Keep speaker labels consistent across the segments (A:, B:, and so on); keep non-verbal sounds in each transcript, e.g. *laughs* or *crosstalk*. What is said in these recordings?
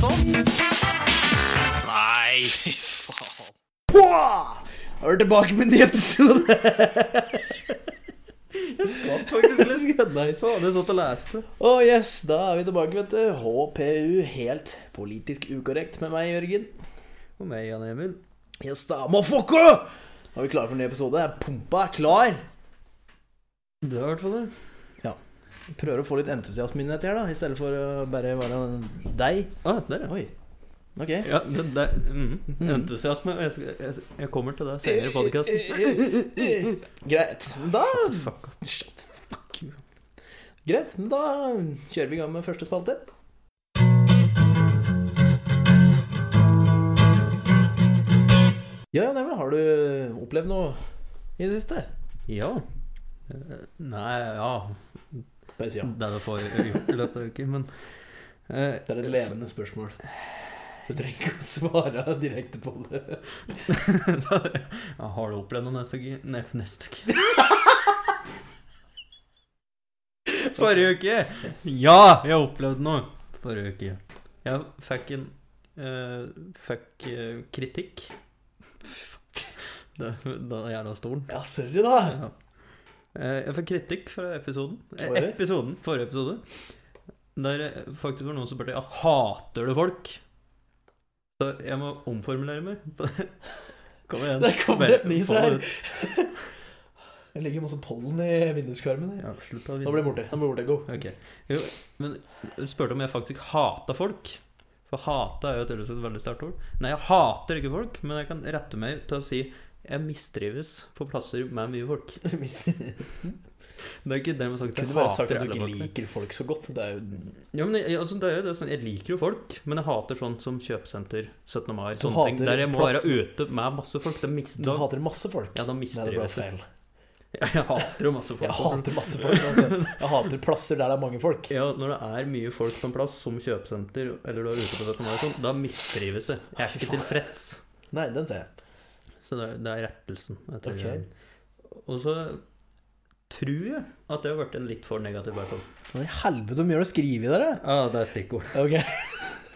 A: sånn?
B: Wow! Da er vi tilbake med en ny episode.
A: Jeg skvatt faktisk
B: *laughs*
A: litt.
B: nice.
A: Faen, jeg satt og leste.
B: Oh yes, da er vi tilbake, vet du. HPU, helt politisk ukorrekt med meg, Jørgen.
A: Og meg, Jan Emil.
B: Yes da, motherfucker! Da er vi klare for en ny episode. Pumpa er klar.
A: Det er i hvert fall det.
B: Prøver å få litt entusiasme inn i dette her, da, i stedet for å bare være deg.
A: Ah, der, ja.
B: Oi. Ok. *laughs*
A: Ja, det, det, mm, entusiasme. Jeg, skal- jeg, jeg kommer til det senere i podkasten.
B: Greit. Da
A: Fuck off.
B: Shut the fuck you. Greit, men da kjører vi i gang med første spalte. Ja, ja, Neville, har du opplevd noe i det siste?
A: Ja. Eh, Nei, ja.
B: Bare si ja.
A: Det er det får gjort i løpet av uken, men eh,
B: Det er et levende spørsmål. Du trenger ikke å svare direkte på det.
A: Ja, Har du opplevd noe neste uke? Nei, neste uke. Forrige uke! Ja, jeg opplevde noe forrige uke. Jeg fikk en eh, Fikk eh, kritikk. *laughs* Det, den jævla stolen.
B: Ja, sorry, da.
A: Ja. Eh, jeg fikk kritikk fra episoden. Eh,
B: Oi.
A: episoden, Forrige episode. Der eh, faktisk var noen som spurte Jeg hater du folk. Så jeg må omformulere meg. *laughs* Kom igjen.
B: Der kommer et nys
A: Få det
B: her.
A: ut.
B: Det ligger masse pollen i vinduskarmen. her.
A: Ja, slutt å
B: Nå
A: vinne.
B: blir den borte. Nå blir den borte. Go.
A: Ok. Jo, men du spurte om jeg faktisk hata folk. For hate er jo tydeligvis et veldig sterkt ord. Nei, jeg hater ikke folk, men jeg kan rette meg til å si jeg mistrives på plasser med mye folk.
B: Kunne
A: Det er ikke det man sagt. Jeg
B: du bare sagt
A: hater
B: at
A: alle
B: du ikke
A: folk.
B: liker folk så godt. Det er jo
A: Ja, men jeg, altså, det er jo det, sånn, jeg liker jo folk, men jeg hater sånn som kjøpesenter, 17. mai,
B: Du
A: sånne ting.
B: hater
A: Der jeg må
B: plass-
A: være ute med masse folk. Da mis-
B: Du
A: da,
B: hater masse folk.
A: ja, da
B: Nei, det ble
A: mistrives jeg.
B: feil.
A: *laughs* Jeg hater jo masse folk.
B: Jeg hater masse folk.
A: *laughs*
B: Altså. Jeg hater plasser der det er mange folk.
A: Ja, når det er mye folk på en plass, som kjøpesenter, eller du er ute på 17. mai, og sånn, da mistrives jeg. Jeg er ikke tilfreds.
B: Nei, den ser jeg.
A: Så det er, det er rettelsen. jeg tror.
B: Ok.
A: Og så tror jeg at jeg har vært en litt for negativ person.
B: Hva i helvete hvor mye har du skrevet der, da?
A: Ja, det er stikkord.
B: Ok. *laughs*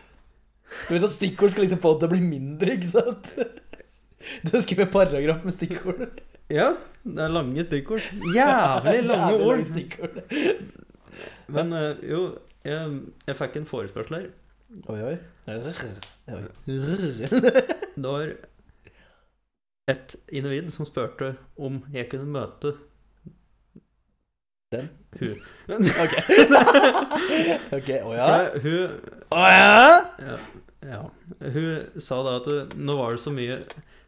B: Du vet at stikkord skal liksom få det til å bli mindre, ikke sant? *laughs* Du har skrevet paragraf med stikkord.
A: Ja, det er lange stikkord. *laughs*
B: *laughs*
A: Jævlig lange
B: Jævlig
A: ord.
B: lange stikkord.
A: Men eh, jo, jeg, jeg fikk en forespørsel her.
B: Oi, oi. Oi.
A: Det var et individ som spurte om jeg kunne møte
B: Den?
A: Hun. *laughs*
B: Ok. Ok, å ja.
A: For hun
B: Å ja?
A: ja, ja. Hun sa da at du, nå var det så mye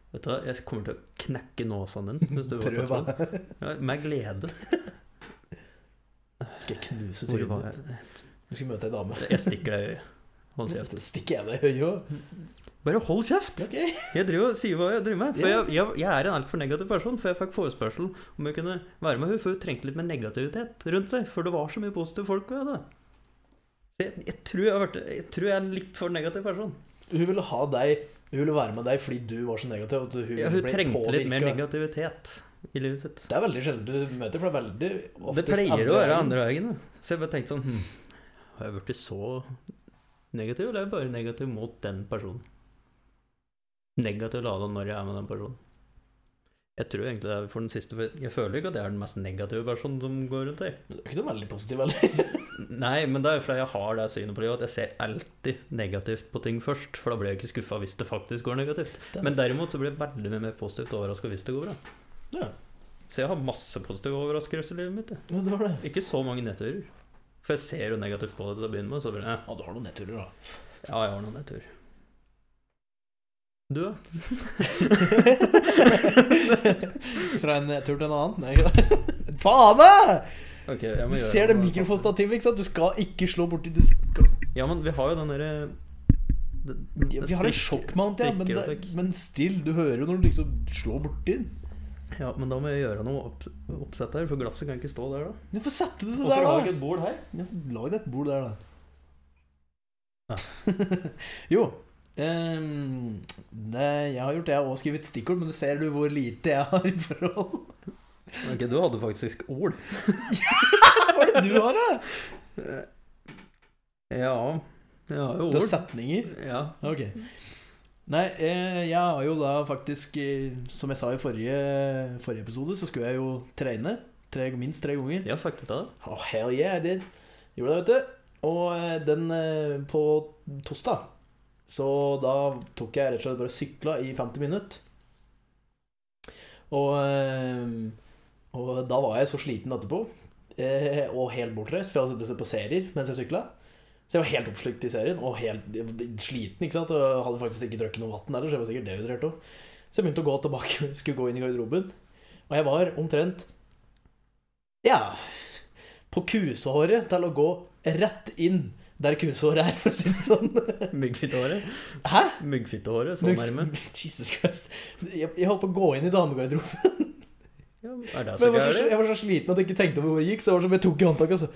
A: Vet du hva, jeg kommer til å knekke nåsene din. Hvis du går på
B: Prøv,
A: toalettet.
B: da.
A: Ja, med glede.
B: Skal jeg knuse
A: Hvor
B: trynet
A: var
B: ditt?
A: jeg?
B: Du skal møte ei dame.
A: Jeg stikker deg i øyet. Hold kjeft.
B: Stikker jeg deg i øyet òg?
A: Bare hold kjeft!
B: Ok.
A: Jeg driver og sier hva jeg driver med. For
B: Ja.
A: jeg, jeg, jeg er en altfor negativ person, for jeg fikk forespørsel om jeg kunne være med henne, for hun trengte litt mer negativitet rundt seg. For det var så mye positive folk ved det. Så jeg, jeg, tror jeg, har vært, jeg tror jeg er en litt for negativ person.
B: Hun ville ha deg Hun ville være med deg fordi du var så negativ. At hun,
A: Ja,
B: ville
A: hun
B: bli
A: trengte litt mer
B: påvirket.
A: negativitet i livet sitt.
B: Det er veldig sjelden du møter, for det er veldig
A: Det pleier å være andre veien. da. Så jeg bare tenkte sånn hm, Har jeg blitt så negativ, eller er jeg bare negativ mot den personen? Negativ lada når jeg er med den personen. Jeg tror egentlig det er for den siste for Jeg føler ikke at jeg er den mest negative personen som går rundt her.
B: Du er ikke noe veldig positiv,
A: *laughs*
B: eller?
A: Nei, men det er jo fordi jeg har det synet på livet at jeg ser alltid negativt på ting først. For da blir jeg ikke skuffa hvis det faktisk går negativt.
B: Den-
A: Men derimot så blir jeg veldig mye mer positivt overraska hvis det går bra.
B: Ja.
A: Så jeg har masse positive overraskelser i livet mitt. jeg.
B: Ja, du har det.
A: Ikke så mange nedturer. For jeg ser jo negativt på det til å begynne med. Så blir det eh,
B: Ja, du har noen nedturer,
A: *laughs*
B: da.
A: Ja, jeg har noen nedturer. Du, da?
B: Fra en nedtur til en annen? Nei, ikke det. Faen, da!
A: Ok, jeg
B: Du ser det mikrofonstativet, ikke sant? Du skal ikke slå borti Du skal
A: Ja, men vi har jo den derre den- den
B: Vi har en
A: strikk-
B: sjokkmant, ja, men,
A: strikker-
B: det, men still. Du hører jo når du liksom slår borti den.
A: Ja, men da må jeg gjøre noe opp, oppsett her, for glasset kan ikke stå der, da.
B: Hvorfor satte du det
A: Hvorfor
B: der,
A: har vi
B: da?
A: ikke et bord her?
B: Ja, så Lag deg et bord der, da. *laughs* jo. ehm, det, jeg har gjort det, jeg har også skrevet stikkord, men du ser du hvor lite jeg har i forhold.
A: *laughs* Ok, du hadde faktisk ord.
B: Hva er det du har, da?
A: Ja, jeg har jo
B: Du
A: ord.
B: har setninger.
A: Ja.
B: Ok. Nei, eh, jeg har jo da faktisk eh, Som jeg sa i forrige, forrige episode, så skulle jeg jo trene. Tre, minst tre ganger.
A: Jeg har fucket ut av det.
B: Oh, hell yeah, I did. Gjorde det, vet du. Og eh, den eh, på torsdag Så da tok jeg rett og slett bare sykla i 50 minutter. Og, eh, og da var jeg så sliten etterpå, eh, og helt bortreist, for jeg hadde sittet og sett på serier mens jeg sykla. Så jeg var helt oppslukt i serien, og helt sliten, ikke sant. Og hadde faktisk ikke drukket noe vann heller, så jeg var sikkert dehydrert òg. Så jeg begynte å gå tilbake, *laughs* skulle gå inn i garderoben, og jeg var omtrent Ja, på kusehåret til å gå rett inn der kusehåret er, for å si det sånn.
A: Myggfittehåret.
B: Hæ?
A: Myggfittehåret, så Sånn nærme.
B: *laughs* Jesus Christ. Jeg, jeg holdt på å gå inn i damegarderoben.
A: Ja, er det
B: Men
A: så
B: jeg var, så,
A: gærent?
B: jeg var så sliten at jeg ikke tenkte over hvor det gikk, så jeg var som jeg tok i håndtaket og så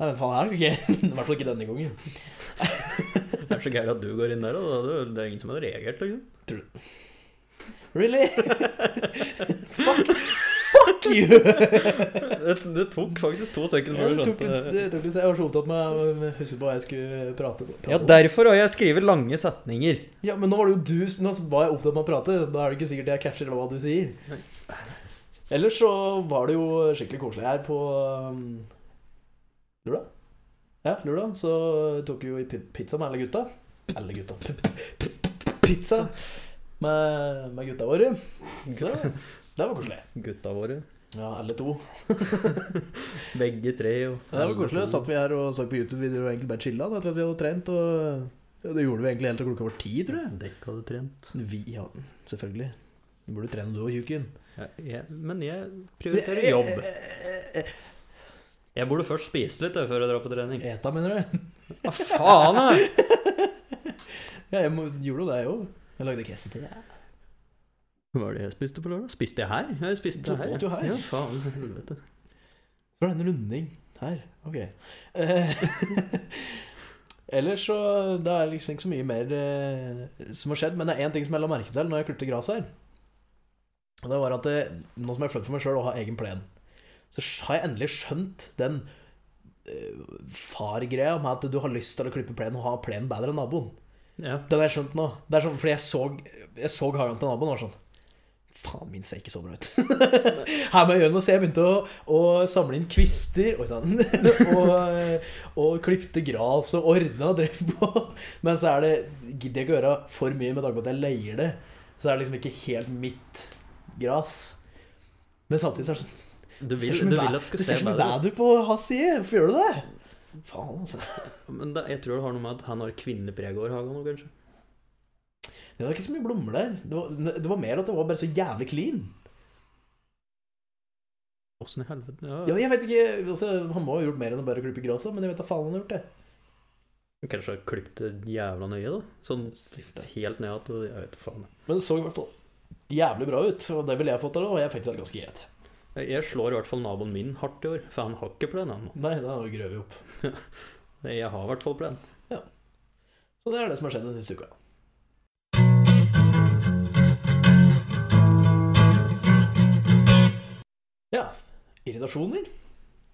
B: Nei, men faen, her skal ikke *laughs* I hvert fall ikke denne gangen.
A: Er det så gærent at du går inn der, og da er det ingen som hadde reagert? Liksom.
B: Really? *laughs* Fuck, fuck you!
A: Det, det tok faktisk to
B: Jeg,
A: sekunder før du
B: tok, litt- eh,
A: skjønte det.
B: det tok litt, jeg var så opptatt med å huske på hva jeg skulle prate, prate
A: Ja,
B: om.
A: derfor har jeg skrevet lange setninger.
B: Ja, men nå var det jo du Nå var jeg opptatt med å prate. Da er det ikke sikkert jeg catcher hva du sier.
A: Nei.
B: Ellers så var det jo skikkelig koselig her på um, lørdag. Ja, lørdag så tok vi jo i pi- pizza med alle gutta. Alle gutta P- p- p- Pizza med, med gutta våre. Det, det var koselig.
A: Gutta våre.
B: Ja, alle to.
A: Begge tre. Og
B: Det var koselig. Satt vi her og så på YouTube-videoer og egentlig bare chilla etter at vi hadde trent. Og ja, det gjorde vi egentlig helt til klokka var ti, tror jeg.
A: Dekk hadde trent.
B: Vi, ja, selvfølgelig. Du burde trene du og tjukken. Eh,
A: Ja, jeg, men jeg prioriterer jobb. Jeg burde først spise litt jeg, før jeg drar på trening.
B: eh. Eta, mener du?
A: Hva faen, jeg!
B: *laughs* Ja, jeg må, gjorde jo det, jeg òg. Jeg lagde kesen til deg.
A: *laughs* Hva var det jeg spiste på lørdag? Spiste jeg her? Jeg
B: Du
A: spiste her.
B: åt jo her.
A: Ja, faen. *laughs* Helvete.
B: Det var en runding her. Ok. Eh, *laughs* Ellers så Det er liksom ikke så mye mer eh, som har skjedd, men det er én ting som jeg la merke til når jeg klippet gress her. Og det var at eh, nå som jeg er født for meg sjøl og har egen plen, så har jeg endelig skjønt den eh, fargreia med at du har lyst til å klippe plenen og ha plenen bedre enn naboen.
A: Ja.
B: Den har jeg skjønt nå. Det er sånn, fordi jeg så, jeg så hagen til naboen og var sånn Faen, min ser ikke så bra ut. *laughs* Her må jeg gjøre noe, så jeg begynte å, å samle inn kvister og, sånn, *laughs* og, eh, og klipte gras og ordna og drev på. Men så er det gidder jeg ikke å gjøre for mye med tanke på at jeg leier det. Så er det liksom ikke helt mitt gras. Men samtidig så er det sånn
A: Du vil,
B: ser så
A: du
B: mye
A: vil
B: bad-
A: at det skal
B: Det
A: se
B: ser så mye
A: bedre ut.
B: bad ut på hans side. Hvorfor gjør du det? Faen, altså.
A: Men da, jeg tror det har noe med at han har kvinnepreg over hagen nå, kanskje.
B: Det var ikke så mye blommer der. Det var, det var mer at det var bare så jævlig clean.
A: Åssen i helvete ja.
B: Ja, jeg vet ikke, altså, Han må ha gjort mer enn å bare klippe gresset, men jeg vet da faen han har gjort det.
A: Kanskje har klippet det jævla nøye, da. Sånn
B: Sikkert.
A: helt ned at Jeg vet faen.
B: Men det så i hvert fall jævlig bra ut, og det ville jeg fått av det, og jeg fikk det ganske greit.
A: Jeg- Jeg slår i hvert fall naboen min hardt i år, for han har ikke plen ennå.
B: Nei, da grøv vi opp.
A: Jeg har i hvert fall plen.
B: Så det er det som har skjedd den siste uka. Ja, irritasjoner.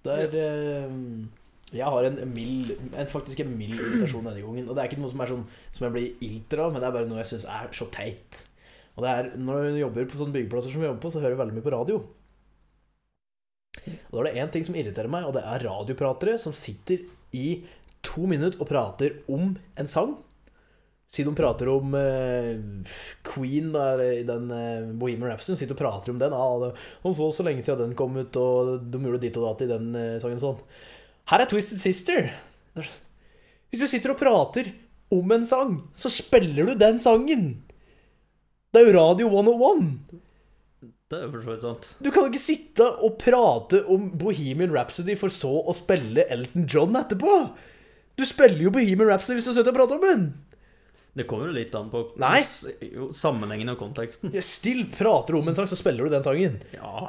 B: Der eh, Jeg har en mild, en faktisk en mild irritasjon denne gangen. Og det er ikke noe som, er sånn, som jeg blir ilter av, men det er bare noe jeg syns er så teit. Og det er, Når du jobber på sånne byggeplasser som vi jobber på, så hører du veldig mye på radio. Og da er det én ting som irriterer meg, og det er radiopratere som sitter i to minutter og prater om en sang. Si de prater om eh, Queen da, eller i den eh, Bohemian Rhapsody. De sitter og prater om den. Ah, det, om så, så lenge siden den kom ut, og de gjorde ditt og datt i den eh, sangen. og sånn. Her er Twisted Sister. Det er sånn, Hvis du sitter og prater om en sang, så spiller du den sangen! Det er jo Radio 101!
A: Det er jo for så vidt sant.
B: Du kan jo ikke sitte og prate om Bohemian Rhapsody for så å spille Elton John etterpå! Du spiller jo Bohemian Rhapsody hvis du sitter og prater om den!
A: Det kommer jo litt an på
B: Nei.
A: s- jo, sammenhengen og konteksten.
B: Ja, Still prater du om en sang, så spiller du den sangen.
A: Ja.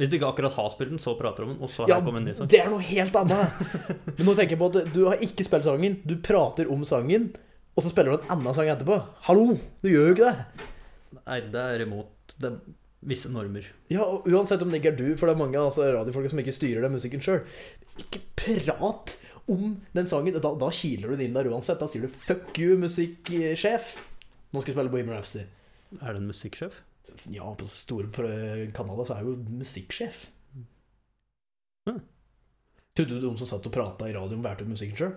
A: Hvis du ikke akkurat har spilt den, så prater du om den, og så her
B: Ja,
A: kommer en ny sang.
B: det er noe helt annet. *laughs* Men nå tenker jeg på at du har ikke spilt sangen, du prater om sangen, og så spiller du en annen sang etterpå. Hallo! Du gjør jo ikke det.
A: Nei, det er imot det er visse normer.
B: Ja, og uansett om det ikke er du, for det er mange altså, radiofolk som ikke styrer den musikken sjøl. Ikke prat om den sangen. Da, da kiler du det inn der uansett. Da sier du 'fuck you, musikksjef'. Nå skal vi spille Bohemian Rhapsody.
A: Er det en musikksjef?
B: Ja, på store prø- Canada så er jo musikksjef.
A: Hm.
B: Trodde du de som satt og prata i radioen, valgte ut musikken sjøl?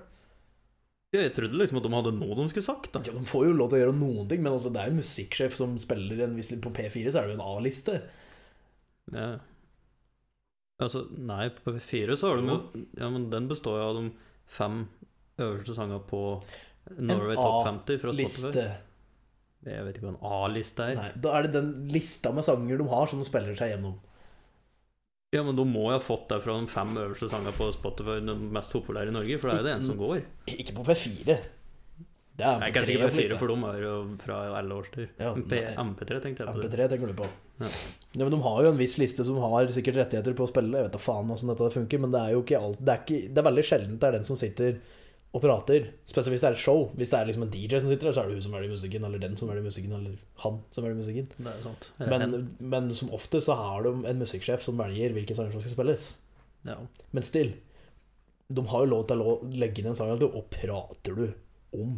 A: Jeg trodde liksom at de hadde noe de skulle sagt, da.
B: Ja, de får jo lov til å gjøre noen ting, men altså, det er jo en musikksjef som spiller en, hvis det- På P4 så er det jo en A-liste.
A: Ja. Altså, nei, på P4 så har de jo Ja, men den består jo av de fem øverste sangene på Norway
B: En
A: Top 50 fra Spotify.
B: Liste.
A: Jeg vet ikke hva en A-liste er.
B: Nei, da er det den lista med sanger de har, som de spiller seg gjennom.
A: Ja, men da må jeg ha fått det fra de fem øverste sangene på Spotify, de mest populære i Norge, for det er jo det eneste som går.
B: Ikke på P4. Det er
A: Nei,
B: MP3
A: kanskje ikke
B: og slikt,
A: P4,
B: da.
A: for de er jo fra alle årstider.
B: Ja,
A: Men P- MP3 tenkte jeg på. det
B: MP3 tenker du på.
A: Ja.
B: Ja. men De har jo en viss liste som har sikkert rettigheter på å spille. Jeg vet da faen hvordan dette funker, men det er jo ikke alt Det er, ikke, det er veldig sjelden det er den som sitter og prater. Spesielt hvis det er et show. Hvis det er liksom en DJ som sitter der, så er det hun som velger musikken, eller den som velger musikken, eller han som velger musikken.
A: Det er jo sant.
B: Men, men som ofte så har de en musikksjef som velger hvilke sanger som skal spilles.
A: ja.
B: Men still, de har jo lov til å legge inn en sang eller to, og prater du om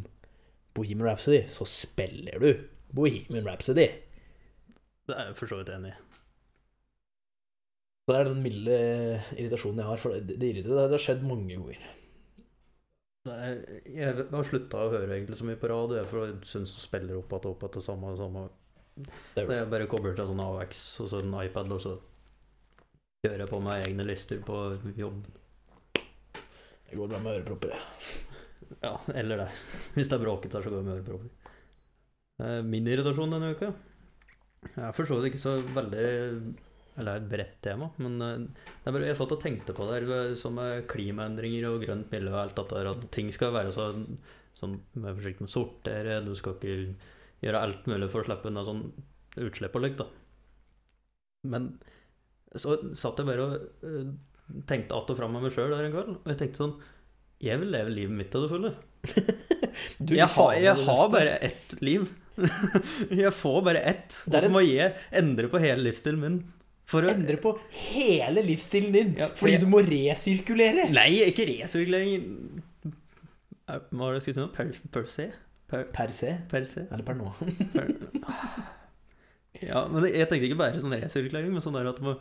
B: Bohemian Rhapsody, så spiller du Bohemian Rhapsody.
A: Det er jeg for så vidt enig i.
B: Så Det er den milde irritasjonen jeg har, for det, det, irriterer- det har skjedd mange ganger.
A: Det er- Jeg har slutta å høre egentlig så mye på radio, jeg, for jeg syns du spiller opp igjen og opp igjen det samme og det samme.
B: Det
A: Så
B: er jo
A: jeg bare kobler til sånn AX og så en iPad, og så kjører jeg på meg egne lister på jobb.
B: det går bra med ørepropper. jeg.
A: Ja, eller det. *laughs* Hvis det er bråkete her, så går jeg med ørepropper. Eh, Min irritasjon denne uka Jeg er for så vidt ikke så veldig Eller det er et bredt tema, men eh, det er bare, jeg satt og tenkte på det her eh, som med klimaendringer og grønt miljø og alt dette her, at ting skal være så sånn, Vær forsiktig med å sortere, du skal ikke gjøre alt mulig for å slippe unna sånn utslipp og likt, da. Men så satt jeg bare og eh, tenkte att og fram med meg sjøl der en kveld, og jeg tenkte sånn Jeg vil leve livet mitt til det fulle
B: Du,
A: jeg har,
B: faen,
A: jeg har
B: det neste.
A: bare ett liv. *laughs* jeg får bare ett.
B: Det er
A: Hvorfor
B: en-
A: må jeg endre på hele livsstilen min? For å
B: Endre på hele livsstilen din
A: Ja,
B: fordi
A: jeg-
B: du må resirkulere!
A: Nei, ikke resirkulering. Er- Hva var det jeg skulle si nå? Per, per se?
B: Per se.
A: Per se?
B: Eller per nå.
A: Per. *laughs* Ja, men jeg tenkte ikke bare sånn resirkulering, men sånn der at man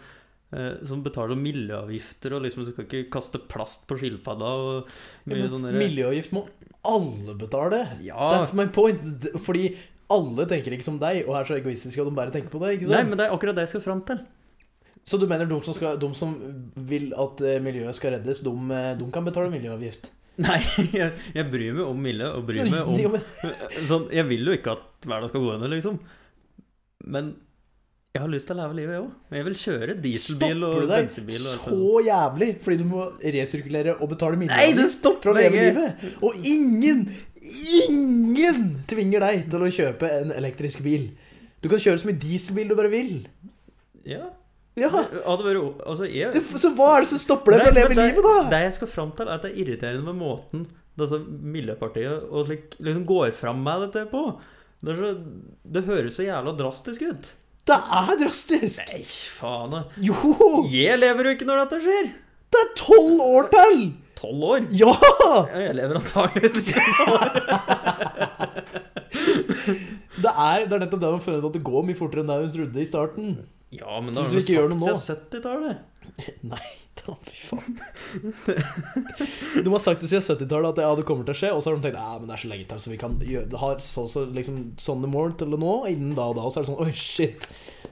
A: eh, som betaler miljøavgifter og liksom du skal ikke kaste plast på skilpadda og mye sånn der-
B: Miljøavgift må alle betale.
A: Ja.
B: That's my point. D- Fordi alle tenker ikke som deg, og er så egoistiske og de bare tenker på deg. ikke sant?
A: Nei, men det er akkurat det jeg skal fram til. *laughs*
B: Så du mener de som, skal, de som vil at eh, miljøet skal reddes, de, eh, de kan betale miljøavgift?
A: Nei, jeg, jeg bryr meg om miljø og
B: *laughs*
A: bryr meg om
B: Ja, men-
A: Sånn, jeg vil jo ikke at verden skal gå under, liksom. Men jeg har lyst til å leve livet, jeg òg. Jeg vil kjøre dieselbil
B: Stopper
A: og
B: du deg
A: bensinbil. Og sånn. alt sånt.
B: så jævlig fordi du må resirkulere og betale
A: Nei, du
B: miljøavgift for
A: stopper
B: å leve
A: begge!
B: livet? Og ingen, ingen tvinger deg til å kjøpe en elektrisk bil. Du kan kjøre så mye dieselbil du bare vil.
A: Ja.
B: Ja,
A: Hadde vært o- Altså,
B: du,
A: jeg
B: Så hva er det som stopper deg fra å
A: Nei,
B: leve
A: men det-
B: livet, da?
A: Det jeg skal fram til, er at det er irriterende med måten disse miljøpartiet og slik, liksom går fram med dette på. Det, er så, det høres så jævla drastisk ut.
B: Det er drastisk.
A: Nei, faen. da.
B: Jo,
A: Jeg lever jo ikke når dette skjer!
B: det er tolv år til!
A: Tolv år.
B: Ja!
A: Ja, Jeg lever antakeligvis ikke.
B: Det er, det er nettopp det man føler at det går mye fortere enn det hun trodde i starten.
A: Ja, men
B: Så
A: da har
B: hvis
A: du
B: vi ikke gjør
A: sagt
B: noe nå-
A: siden 70-tallet.
B: *laughs* Nei, da, fy faen. De har sagt det siden 70-tallet at det, ja, det kommer til å skje, og så har de tenkt ja, men det er så lenge til, så vi kan gjøre det har så, så, liksom, sånne mål til å nå, og innen da og da, og så er det sånn oi, shit.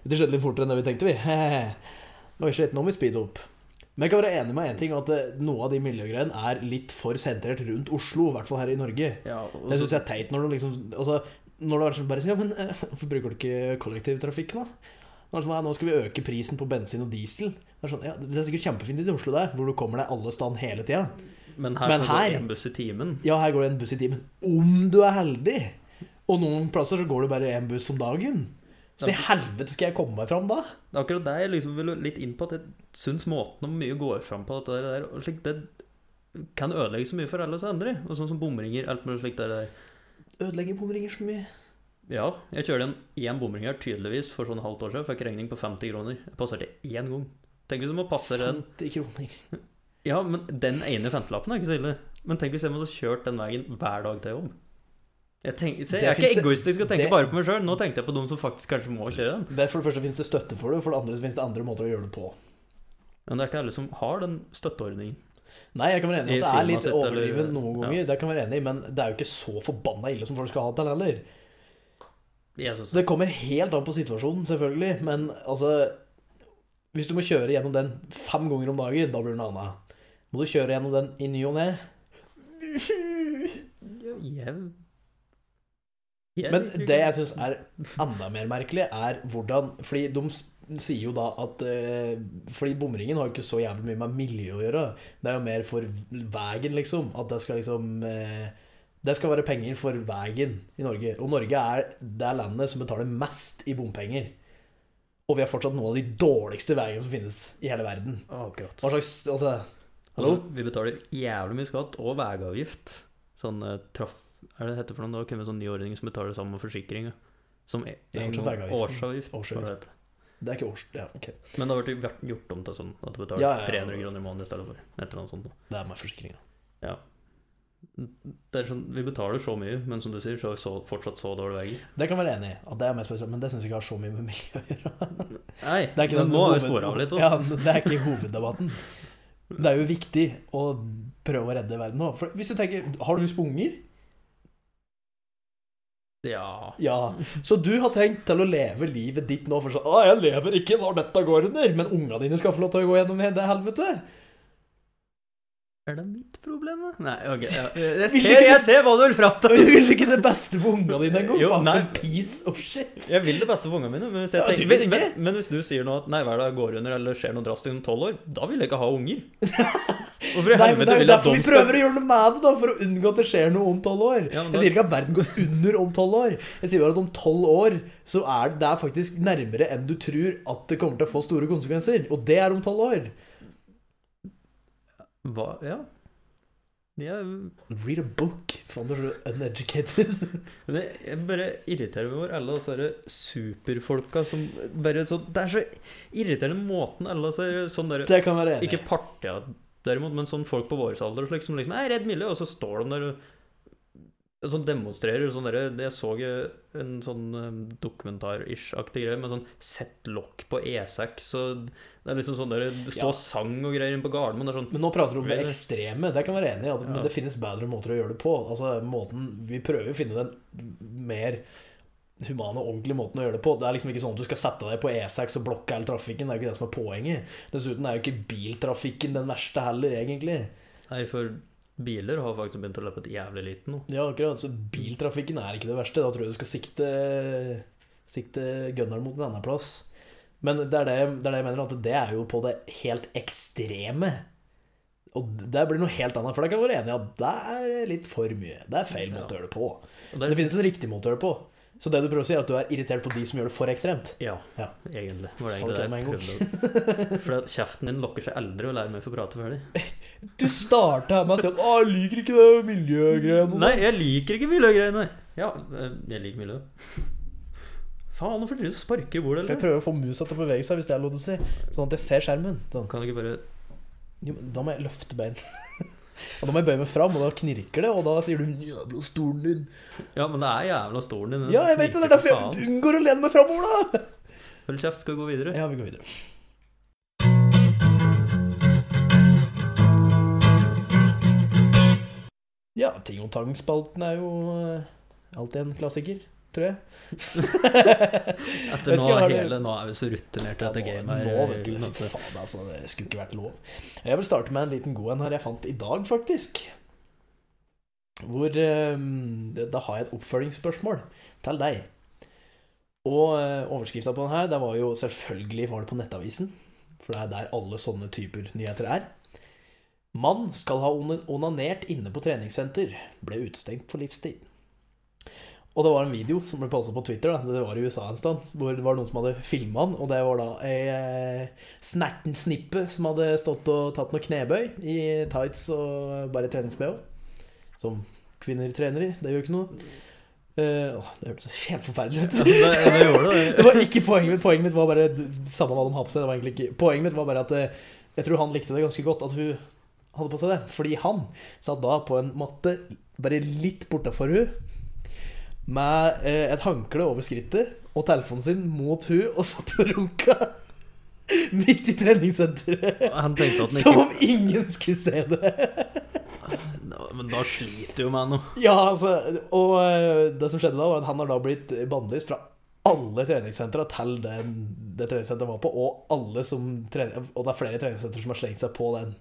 B: Det skjedde litt fortere enn det vi *laughs* tenkte, vi. oi, shit, nå må vi speede opp. Men jeg kan være enig med én ting, at eh, noe av de miljøgreiene er litt for sentrert rundt Oslo, i hvert fall her i Norge.
A: Ja, og
B: Det
A: så-
B: syns jeg er teit når du liksom altså, Når det er sånn bare sånn, Ja, men eh, hvorfor bruker du ikke kollektivtrafikken, da? Nå, er det sånn, «Nei, nå skal vi øke prisen på bensin og diesel. Det er, sånn, ja, det er sikkert kjempefint i Oslo, der, hvor du kommer deg alle steder hele tida.
A: Men her
B: Men
A: skal det
B: her-
A: gå en buss i timen.
B: Ja, her går det en buss i timen. Om du er heldig! Og noen plasser så går det bare én buss om dagen. Så i helvete skal jeg komme meg fram da?
A: Det er akkurat det jeg liksom vil litt inn på, at jeg syns måten om mye går fram på dette der, og slik, det kan ødelegge så mye for alle oss andre. Og sånn som bomringer, alt mulig slikt der. der.
B: Ødelegger bomringer så mye.
A: Ja, jeg kjørte en én bomring her, tydeligvis, for sånn halvt år siden. Fikk regning på 50 kroner. Jeg passerte én gang. Tenk hvis du må passere den
B: 50 kroner.
A: Ja, men den ene femtelappen er ikke så ille. Men tenk hvis jeg måtte kjørt den veien hver dag til jobb. Jeg, tenk, se, jeg
B: Det
A: er
B: finnes
A: ikke
B: det-
A: egoistisk og tenker
B: det-
A: bare på meg sjøl. Nå tenkte jeg på dem som faktisk kanskje må kjøre den.
B: Det er for det første finnes det støtte for det, og for det andre så finnes det andre måter å gjøre det på.
A: Men det er ikke alle som har den støtteordningen.
B: Nei, jeg kan være enig i
A: I
B: at det er litt
A: firmaet sitt, eller-
B: overdrivet noen
A: ja.
B: ganger, det kan jeg være enig i, men det er jo ikke så forbanna ille som folk skal ha det til heller.
A: Jeg synes
B: Så det kommer helt an på situasjonen, selvfølgelig, men altså Hvis du må kjøre gjennom den fem ganger om dagen, da blir det noe annet. Må du kjøre gjennom den i ny og ne?
A: Jo, Jeg, jeg
B: Men
A: liker ikke
B: det jeg syns er enda mer merkelig, er hvordan Fordi de s- sier jo da at eh, Fordi bomringen har jo ikke så jævlig mye med miljø å gjøre. Det er jo mer for veien, liksom. At det skal liksom eh, Det skal være penger for veien i Norge. Og Norge er det landet som betaler mest i bompenger. Og vi har fortsatt noen av de dårligste veiene som finnes i hele verden.
A: Akkurat.
B: Hva slags Altså,
A: Altså,
B: hallo?
A: vi betaler jævlig mye skatt og veiavgift. Sånn eh, traff... Hva er det det heter for noe? Det har kommet en sånn ny ordning som betaler sammen med forsikringa. Som e-
B: Det er kanskje
A: noen-
B: veiavgiften.
A: årsavgift. hva
B: Årsavgift.
A: det heter.
B: Det er ikke års... Ja, ok.
A: Men det har vært gjort- gjort om til sånn at du betaler
B: Ja, ja, ja.
A: 300 kroner i måneden i stedet for. Et eller annet sånt.
B: Det er meg forsikringa.
A: Det er sånn, vi betaler så mye, men som du sier, så er vi så, fortsatt så dårlige veier.
B: Det kan være enig i, at det er mest spesielt, men det syns jeg ikke har så mye med miljø å gjøre.
A: Nei,
B: Det er ikke
A: men
B: den
A: nå har vi
B: hoved-
A: spora av litt. da.
B: Ja, men det er ikke hoveddebatten. Det er jo viktig å prøve å redde verden nå. For hvis du tenker, Har du hus på unger?
A: Ja.
B: Ja. Så du har tenkt til å leve livet ditt nå for sånn Å, jeg lever ikke når dette går under, men unga dine skal få lov til å gå gjennom det helvete.
A: Er det mitt problem, da? Nei, ok.
B: *laughs*
A: Ja. Jeg,
B: Vil
A: ser,
B: ikke-
A: jeg ser hva du vil fram
B: Du *laughs*
A: til.
B: vil ikke det beste for unga dine engang.
A: Jo,
B: Faen,
A: nei.
B: for en piece of shit.
A: Jeg vil det beste for ungene mine. Men hvis, jeg
B: Ja,
A: tenker,
B: tydeligvis
A: hvis,
B: ikke.
A: men, men hvis du sier nå at nei, hver dag går under eller skjer noe drastisk om tolv år, da vil jeg ikke ha unger. *laughs* Hvorfor i
B: *laughs* Nei,
A: helvete
B: men det er jo
A: vil jeg at
B: derfor
A: de
B: vi
A: skal
B: prøver å gjøre noe med det, da, for å unngå at det skjer noe om tolv år.
A: Ja, men
B: Jeg
A: da-
B: sier ikke at verden går under om tolv år. Jeg sier bare at om tolv år så er det- det er faktisk nærmere enn du tror at det kommer til å få store konsekvenser. Og det er om tolv år.
A: Hva? Ja. Jeg,
B: Read a book. Faen, du er så uneducated. *laughs*
A: men jeg, jeg bare irriterer meg over alle disse her superfolka som bare så Det er så irriterende måten alle disse her sånn derre
B: Det kan være enig.
A: Ikke partia, derimot, men sånn folk på vår alder og slik, som liksom er redd miljø, og så står de der og og sånn demonstrerer sånn derre Jeg så en sånn eh, dokumentar-ish-aktig greie med sånn Sett lokk på E6 og Det er liksom sånn derre Stå
B: Ja.
A: og sang og greier inne på Gardermoen. Det er sånn
B: Men nå prater du om det ekstreme. Det kan være enig i. Altså,
A: Ja.
B: Men det finnes bedre måter å gjøre det på. Altså, måten, vi prøver å finne den mer humane og ordentlige måten å gjøre det på. Det er liksom ikke sånn at du skal sette deg på E6 og blokke hele trafikken. Det er jo ikke det som er poenget. Dessuten er jo ikke biltrafikken den verste heller, egentlig.
A: Nei, for biler har faktisk begynt å løpe et jævlig lite nå.
B: Ja, akkurat. Så biltrafikken er ikke det verste. Da tror jeg du skal sikte, sikte gunneren mot en annen plass. Men det er det, det er det jeg mener, at det er jo på det helt ekstreme. Og det blir noe helt annet, for jeg kan være enig i at det er litt for mye. Det er feil måte å gjøre det på.
A: Og
B: Men det finnes en riktig måte å gjøre det på. Så det du prøver å si, er at du er irritert på de som gjør det for ekstremt.
A: Ja,
B: Ja.
A: egentlig. Var det
B: Sa du
A: egentlig det
B: det med en
A: jeg prøvde å For at kjeften din lokker seg aldri og lærer meg å få prate ferdig.
B: Du starta med å si at 'Å, jeg liker ikke det miljøgreiene'. og
A: Nei, jeg liker ikke miljøgreiene. Ja, eh, jeg liker miljø. Faen, hvorfor driver du og sparker i bordet?
B: sånn.» For jeg
A: Eller?
B: prøver å få musa til å bevege seg, hvis det er lov til å si. Sånn at jeg ser skjermen. Sånn.
A: Kan du ikke bare
B: Jo, men da må jeg løfte bein. *laughs* og da må jeg bøye meg fram, og da knirker det, og da sier du 'jævla stolen din'.
A: Ja, men det er jævla stolen din. den
B: Ja, jeg vet det, det er
A: knirker
B: derfor jeg
A: faen.
B: unngår å lene meg
A: *laughs*
B: framover, da!
A: Hold kjeft, skal vi gå videre?
B: Ja, vi går videre. Ja, Ting og Tang-spalten er jo eh, alltid en klassiker, tror jeg.
A: Etter *laughs*
B: Vet
A: nå,
B: ikke, har du-
A: hele, nå er vi så rutinert i dette
B: Ja,
A: gamet.
B: Nå,
A: her,
B: nå, vet du.
A: Jørgen, at
B: Fy
A: det-
B: faen, altså. Det skulle ikke vært lov. Jeg vil starte med en liten god en her jeg fant i dag, faktisk. Hvor eh, Da har jeg et oppfølgingsspørsmål til deg. Og eh, overskrifta på den her, det var jo selvfølgelig var det på Nettavisen. For det er der alle sånne typer nyheter er. Mann skal ha onan- onanert inne på treningssenter. Ble utestengt for livstid. Og det var en video som ble postet på Twitter, da. det var i USA en stund, hvor det var noen som hadde filma den, og det var da ei eh, snerten snippe som hadde stått og tatt noen knebøy i tights og bare treningsbh. Som kvinner trener i, det gjør ikke noe. Eh, åh, det hørtes helt forferdelig ut.
A: Ja, det, det gjorde det.
B: Det var ikke poenget mitt. Poenget mitt var bare Samme hva de har på seg. Det var egentlig ikke Poenget mitt var bare at eh, jeg tror han likte det ganske godt at hun hadde på seg det. Fordi han satt da på en matte bare litt bortafor hun med eh, et håndkle over skrittet og telefonen sin mot hun og satt og runka *laughs* midt i treningssenteret.
A: Han tenkte at han
B: Som
A: ikke
B: om ingen skulle se det.
A: Men da sliter jo med noe.
B: Ja, altså, og eh, det som skjedde da, var at han har da blitt bannlyst fra alle treningssentre til det, det treningssenteret han var på, og alle som trener, og det er flere treningssentre som har slengt seg på den.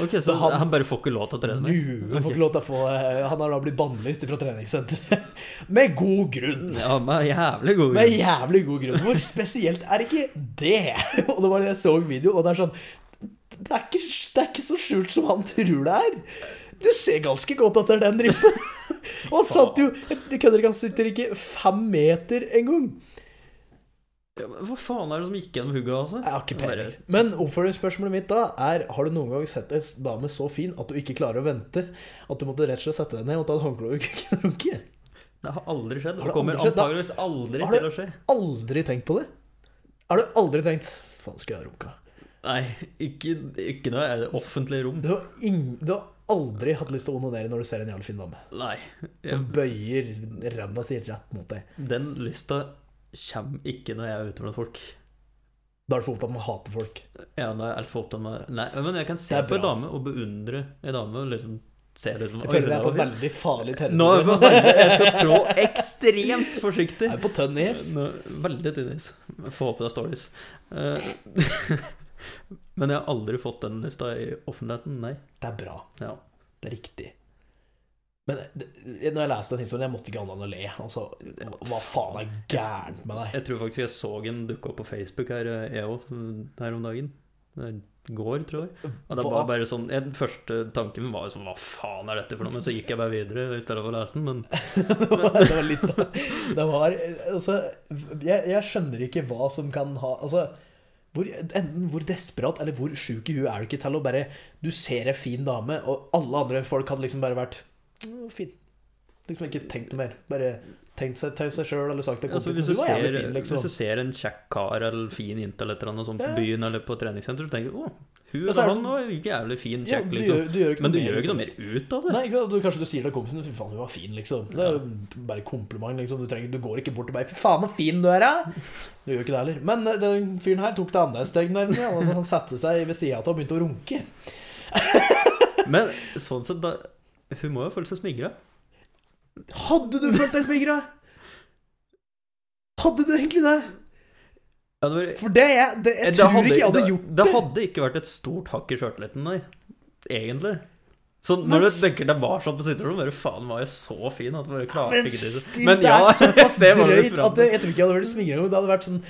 A: Ok, Så
B: han-
A: han, bare får ikke lov til å trene mer?
B: Lue får ikke lov til å få eh, Han har da blitt bannlyst fra treningssenteret. *laughs* Med god grunn!
A: Ja, med jævlig god
B: Med
A: grunn.
B: jævlig god grunn. Hvor spesielt er ikke det? *laughs* Og det var det jeg så i videoen, og det er sånn det er, ikke, det er ikke så skjult som han tror det er. Du ser ganske godt at det er den riffen. Og han satt jo Du kødder ikke, han sitter ikke fem meter engang.
A: Ja, men Hva faen er det som gikk gjennom hugget, altså?
B: Jeg har ikke peiling. Men oppfølgingsspørsmålet mitt da er Har du noen gang sett en dame så fin at du ikke klarer å vente? At du måtte rett og slett sette deg ned og ta et håndkle og kunne *laughs* runke?
A: Det har aldri skjedd.
B: Har det
A: Og kommer
B: aldri skjedd, da?
A: antageligvis aldri
B: Har det-
A: til å skje.
B: Aldri tenkt på det? Har du aldri tenkt Faen, skal jeg ha runka?
A: Nei, ikke, ikke noe er det offentlig rom.
B: Du har, ing- du har aldri hatt lyst til å onanere når du ser en jævlig fin dame.
A: Nei.
B: Som bøyer ræva si rett mot deg.
A: Den lysta kommer ikke når jeg er ute blant folk.
B: Da er det for opptatt med å hate folk.
A: Ja, når jeg er altfor opptatt med Nei, men jeg kan
B: Det
A: se
B: er
A: på en
B: bra.
A: dame og beundre en dame. og liksom se liksom,
B: Jeg
A: «Oi,
B: føler
A: hun
B: jeg er på
A: var fin».
B: veldig farlig
A: Nå er jeg
B: territorium.
A: på veldig- jeg skal trå ekstremt forsiktig.
B: *laughs* Jeg er på tønn is.
A: Nå, veldig tynn is. Får håpe det er stories. Eh, *laughs* Men jeg har aldri fått den lista i offentligheten, nei.
B: Det er bra.
A: Ja.
B: Det er riktig. Men eh, det, når jeg leste den historien, jeg måtte ikke annet enn å le. Altså, hva faen er gærent med deg?
A: Jeg tror faktisk jeg så en dukke opp på Facebook her, eh, jeg òg, her om dagen. Det er Går, tror jeg. Og det var
B: Hva?
A: bare sånn, Den første tanken min var jo sånn Hva faen er dette for noe? Men så gikk jeg bare videre i stedet for å lese den. Men
B: *laughs* det var, det var litt av Det var Altså, jeg, jeg skjønner ikke hva som kan ha Altså, hvor, enten hvor desperat eller hvor sjuk i huet er du ikke til å bare Du ser ei en fin dame, og alle andre folk hadde liksom bare vært «Å, fin. Liksom ikke tenkt noe mer. Bare tenkt seg til seg sjøl eller sagt til
A: altså, hvis,
B: kompisen
A: du
B: du var jævlig
A: ser,
B: fin,
A: hvis
B: liksom.
A: du ser en kjekk kar eller fin jente eller et eller annet sånt på
B: Ja.
A: byen eller på treningssenteret, så tenker du å, hun eller
B: Ja, så er det
A: han var jævlig fin,
B: Ja,
A: kjekk,
B: du,
A: liksom.
B: gjør, du gjør ikke
A: Men du
B: mer
A: gjør jo
B: ut
A: ikke
B: av
A: noe mer ut av det.
B: Nei, ikke sant? Du, kanskje du sier til kompisen din 'fy faen, hun var fin', liksom. Det er jo bare kompliment, liksom. Du, trenger, du går ikke bort og bare 'fy faen, så fin du er', da'. Du gjør ikke det heller. Men eh, den fyren her tok det andre steg nærmere. ja. Altså, han satte seg ved sida av og begynte å runke.
A: Men sånn sett, da, hun må jo føle seg smigra.
B: Hadde du følt deg smigra? Hadde du egentlig det?
A: Ja, det var-
B: For det jeg, Eh, det, jeg
A: Det
B: tror
A: hadde-
B: ikke jeg hadde
A: det-
B: gjort
A: Det hadde ikke vært et stort hakk i sjøltilliten, nei. Egentlig. Så når
B: Men
A: du
B: s-
A: tenker deg var sånn på situasjonen, bare faen, var jeg så fin at jeg bare klarte
B: Men
A: ikke til det.
B: still, *laughs* det er
A: *laughs*
B: såpass
A: jeg ser hva du
B: drøyt
A: fram
B: at det, jeg tror ikke jeg hadde vært smigra engang. Det hadde vært sånn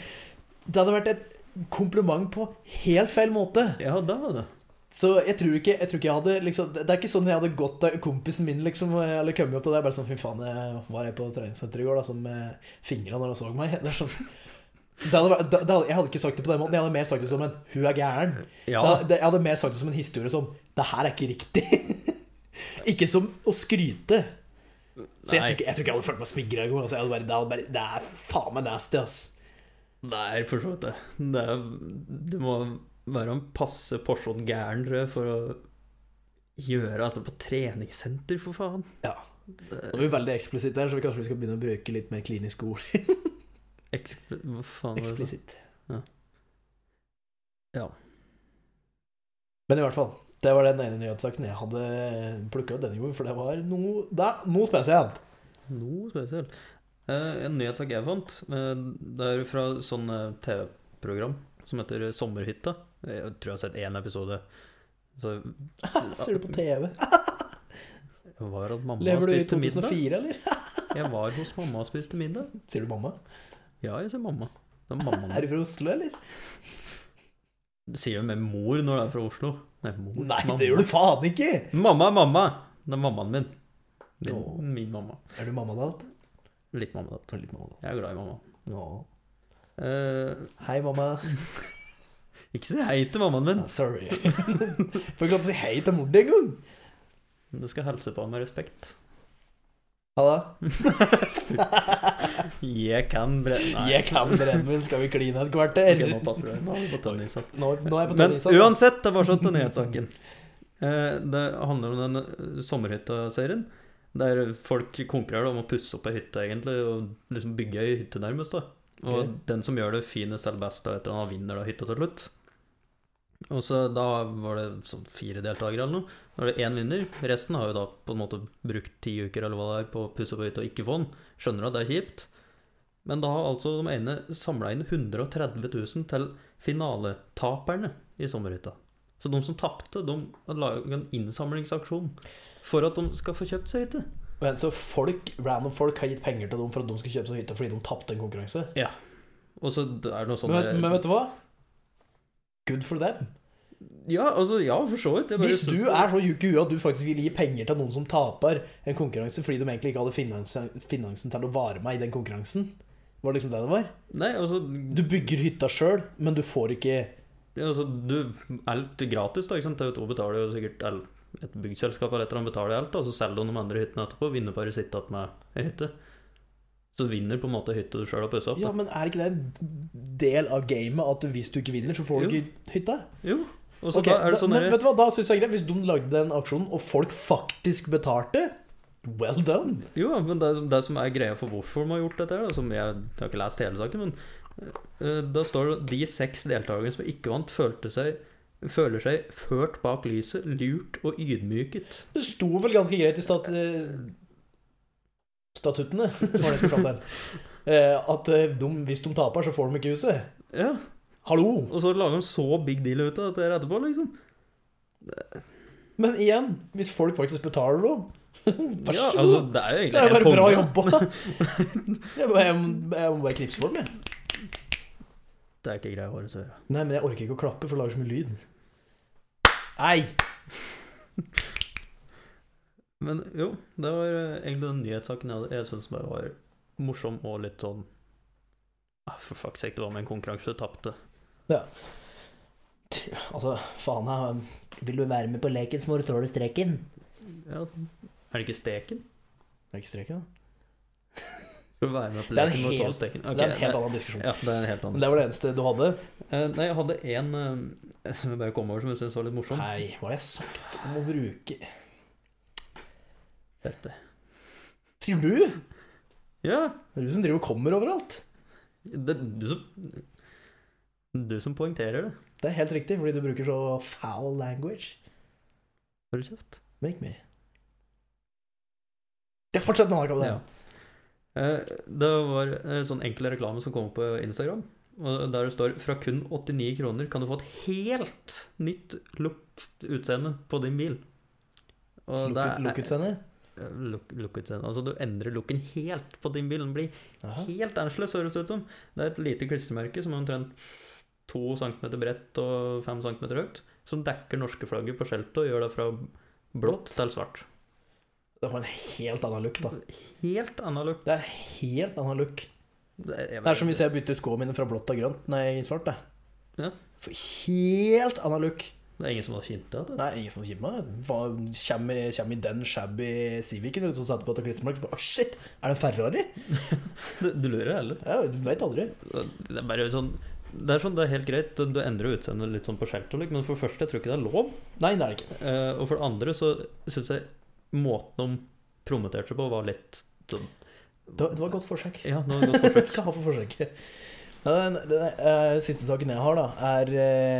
B: Det hadde vært et kompliment på helt feil måte.
A: til. Ja, da var det.
B: Så jeg tror ikke jeg, tror ikke jeg hadde liksom, Det det er ikke sånn jeg hadde gått til kompisen min liksom, eller kommet opp til deg bare sånn Fy faen, jeg var jeg på treningssenteret i går da, som eh, fingra når han så meg. *laughs* Det er sånn, det hadde, vært- det, det hadde, jeg hadde ikke sagt det på den måten. Jeg hadde mer sagt det som en 'hun er gæren'.
A: Ja,
B: Det- det, jeg hadde mer sagt det som en historie som 'det her er ikke riktig'. *laughs* ikke som å skryte. Så jeg tror,
A: Nei.
B: ikke, jeg tror ikke jeg hadde følt meg smigra engang. Altså, jeg hadde bare- det hadde bare- det er faen meg nasty, ass.
A: nei, for så vidt det. det er, du må være en passe porsjon gæren, tror jeg, for å gjøre dette på treningssenter, for faen.
B: Ja. Nå er
A: Det-
B: vi veldig eksplisitte her, så vi kanskje vi skal begynne å bruke litt mer kliniske ord. *laughs*
A: Ekspl... Hva faen var det?
B: Eksplisitt.
A: Ja. Ja.
B: Men i hvert fall. Det var den ene nyhetssaken jeg hadde plukka ut denne gangen, for det var noe, det er noe spesielt.
A: Noe spesielt. Eh, en nyhetssak jeg fant, eh, det er fra sånn eh, TV-program som heter eh, Sommerhytta. Jeg tror jeg har sett én episode. Så
B: *laughs* Ser du på TV?
A: jeg var at mamma
B: Lever du i
A: spiste middag.
B: 2004, eller?
A: Jeg var hos mamma og spiste middag.
B: Sier du mamma?
A: Ja, jeg sier mamma. Det er mamma.
B: Er du fra Oslo, eller?
A: Du sier jo med mor når du er fra Oslo. Nei, mor.
B: Nei,
A: Mm. mamma.
B: det gjør du faen ikke!
A: Mamma er mamma! Det er mammaen min. Min,
B: Åh.
A: min mamma.
B: Er du mamma dalt?
A: Litt mamma. da.
B: Litt mamma dalt.
A: Jeg er glad i mamma.
B: Nå.
A: Eh,
B: Hei, mamma.
A: ikke si hei til mammaen min.
B: Ah, sorry. *laughs* Får ikke lov til å si hei til mor di engang!
A: Du skal hilse på ham med respekt.
B: Halla.
A: Jeg kan brenne Nei.
B: Jeg kan brennevin, skal vi kline et kvarter?
A: Ok, nå passer det. Nå er vi på tennissatt.
B: Nå, nå er jeg på
A: Men
B: tennisene.
A: uansett, det var sånn til nyhetssaken. Eh, Det handler om den eh, sommerhytta-serien. Der folk konkurrerer da om å pusse opp ei hytte, egentlig, og liksom bygge ei hytte, nærmest. da. Og
B: Ok.
A: den som gjør det finest eller best, eller et eller annet, vinner da hytta til slutt. Og så da var det sånn fire deltakere eller noe. Da er det én vinner. Resten har jo da på en måte brukt ti uker eller hva det er på å pusse opp ei hytte og ikke få den. Skjønner at det er kjipt. Men da har altså de ene samla inn 130 000 til finaletaperne i sommerhytta. Så de som tapte, de har laget en innsamlingsaksjon for at de skal få kjøpt seg hytte.
B: Men så folk, random folk har gitt penger til dem for at de skulle kjøpe seg hytte fordi de tapte en konkurranse.
A: Og så er det noe sånn
B: Men, vet- men vet du hva? Good for them.
A: Ja, altså, ja, for så vidt. Jeg bare
B: Hvis
A: synes
B: du
A: det-
B: er så tjukk i huet at du faktisk vil gi penger til noen som taper en konkurranse fordi de egentlig ikke hadde finansen, finansen til å vare meg i den konkurransen, var det liksom det det var?
A: Nei, altså,
B: Du bygger hytta sjøl, men du får ikke
A: ja, altså du, Alt gratis, da. ikke sant? TV 2 betaler jo sikkert eller Et byggselskap eller et eller annet betaler alt, og så selger de de andre hyttene etterpå. Vinner bare sitt igjen med ei hytte. Så du vinner på en måte hytte du sjøl har pussa opp.
B: Ja,
A: da.
B: men er ikke det en del av gamet at du, hvis du ikke vinner, så
A: Jo.
B: får du ikke hytta?
A: Jo. Og så
B: Ok,
A: da er det sånn
B: da, men
A: derre-
B: vet du hva, da synes jeg det er greit Hvis de lagde den aksjonen, og folk faktisk betalte Well done!
A: Jo, men det, som- det som er greia for hvorfor de har gjort dette, her, da, som jeg, jeg har ikke lest hele saken, men eh, da står det de seks deltakerne som ikke vant, følte seg, føler seg ført bak lyset, lurt og ydmyket.
B: Det sto vel ganske greit i stat, eh, statuttene *laughs* var det jeg skulle fram til. Eh, At eh, de, hvis de taper, så får de ikke huset.
A: Ja,
B: Hallo!
A: Og så lager de så big deal ut av dette her etterpå, liksom.
B: Men igjen, hvis folk faktisk betaler dem *laughs* Vær
A: Ja,
B: så god!
A: altså, det er jo
B: det er
A: egentlig
B: jo
A: helt
B: bare bra
A: konge. *laughs*
B: jobba! Jeg, må- jeg, må- jeg må bare knipse for dem, jeg.
A: Det er ikke greia vår å gjøre.
B: Nei, men jeg orker ikke å klappe, for det lager så mye lyd. Nei!
A: *laughs* Men jo, det var eh, egentlig den nyhetssaken jeg, hadde- jeg syns bare var morsom og litt sånn ah, For fuck's sake, det var med en konkurranse du tapte.
B: Altså, faen jeg, Vil du være med på leken, så må du tåle streken.
A: Ja, er det ikke steken?
B: Det er ikke streken, da.
A: Skal du være med på
B: Det er en
A: leken med
B: helt-
A: tolv steken? Ok,
B: det er en helt annen diskusjon.
A: Ja, det er en helt
B: Men
A: annen.
B: det var det eneste du hadde.
A: Eh, nei, jeg hadde en eh, *laughs* som jeg bare kom over som jeg syntes var litt morsom.
B: Nei, hva har jeg sagt om å bruke
A: Dette.
B: Sier du?
A: Ja,
B: Det er du som driver og kommer overalt.
A: det, du som Du som poengterer det.
B: Det er helt riktig, fordi du bruker så foul language.
A: Hold kjeft.
B: Make me. Ja, fortsett nå, Jakob.
A: Ja. Eh, Det var en sånn enkel reklame som kom opp på Instagram. og Der det står 'Fra kun 89 kroner kan du få et helt nytt lukt utseende på din bil'. Og det er-
B: Lukkutsender?
A: Eh, Look, look-utseende. altså, du endrer looken helt på din bil. Den blir helt annerledes, høres det ut som. Det er et lite klistremerke som er omtrent 2 cm bredt og 5 cm høyt, som dekker norske flagget på skjeltet og gjør det fra blått til svart.
B: Det var en helt annen look, da.
A: Helt annen look.
B: Det er en helt annen look.
A: Det er, jeg
B: Det er som
A: vet-
B: hvis jeg bytter ut skoene mine fra blått til grønt Nei, svart. da.
A: Ja.
B: For Helt annen look.
A: det er ingen som har kjent det. det.
B: Nei, ingen som kjimmer meg. Hva kommer kommer i den shabby Civicen ut og setter på et klistremerke? Å, shit! Er det en Ferrari?
A: Du, du lurer, eller?
B: Ja, du veit aldri.
A: Det er bare sånn det er sånn, det er helt greit, du endrer utseendet litt sånn på skjeltet, og litt, men for det første, jeg tror ikke det er lov.
B: Nei, det er det ikke.
A: Eh, og for det andre så syns jeg måten de promoterte det på, var litt sånn
B: Det var, det var et godt forsøk.
A: Ja, nå har vi gått
B: Jeg
A: forsøk.
B: *laughs* skal ha for forsøket. Ja, den, den eh, siste saken jeg har, da, er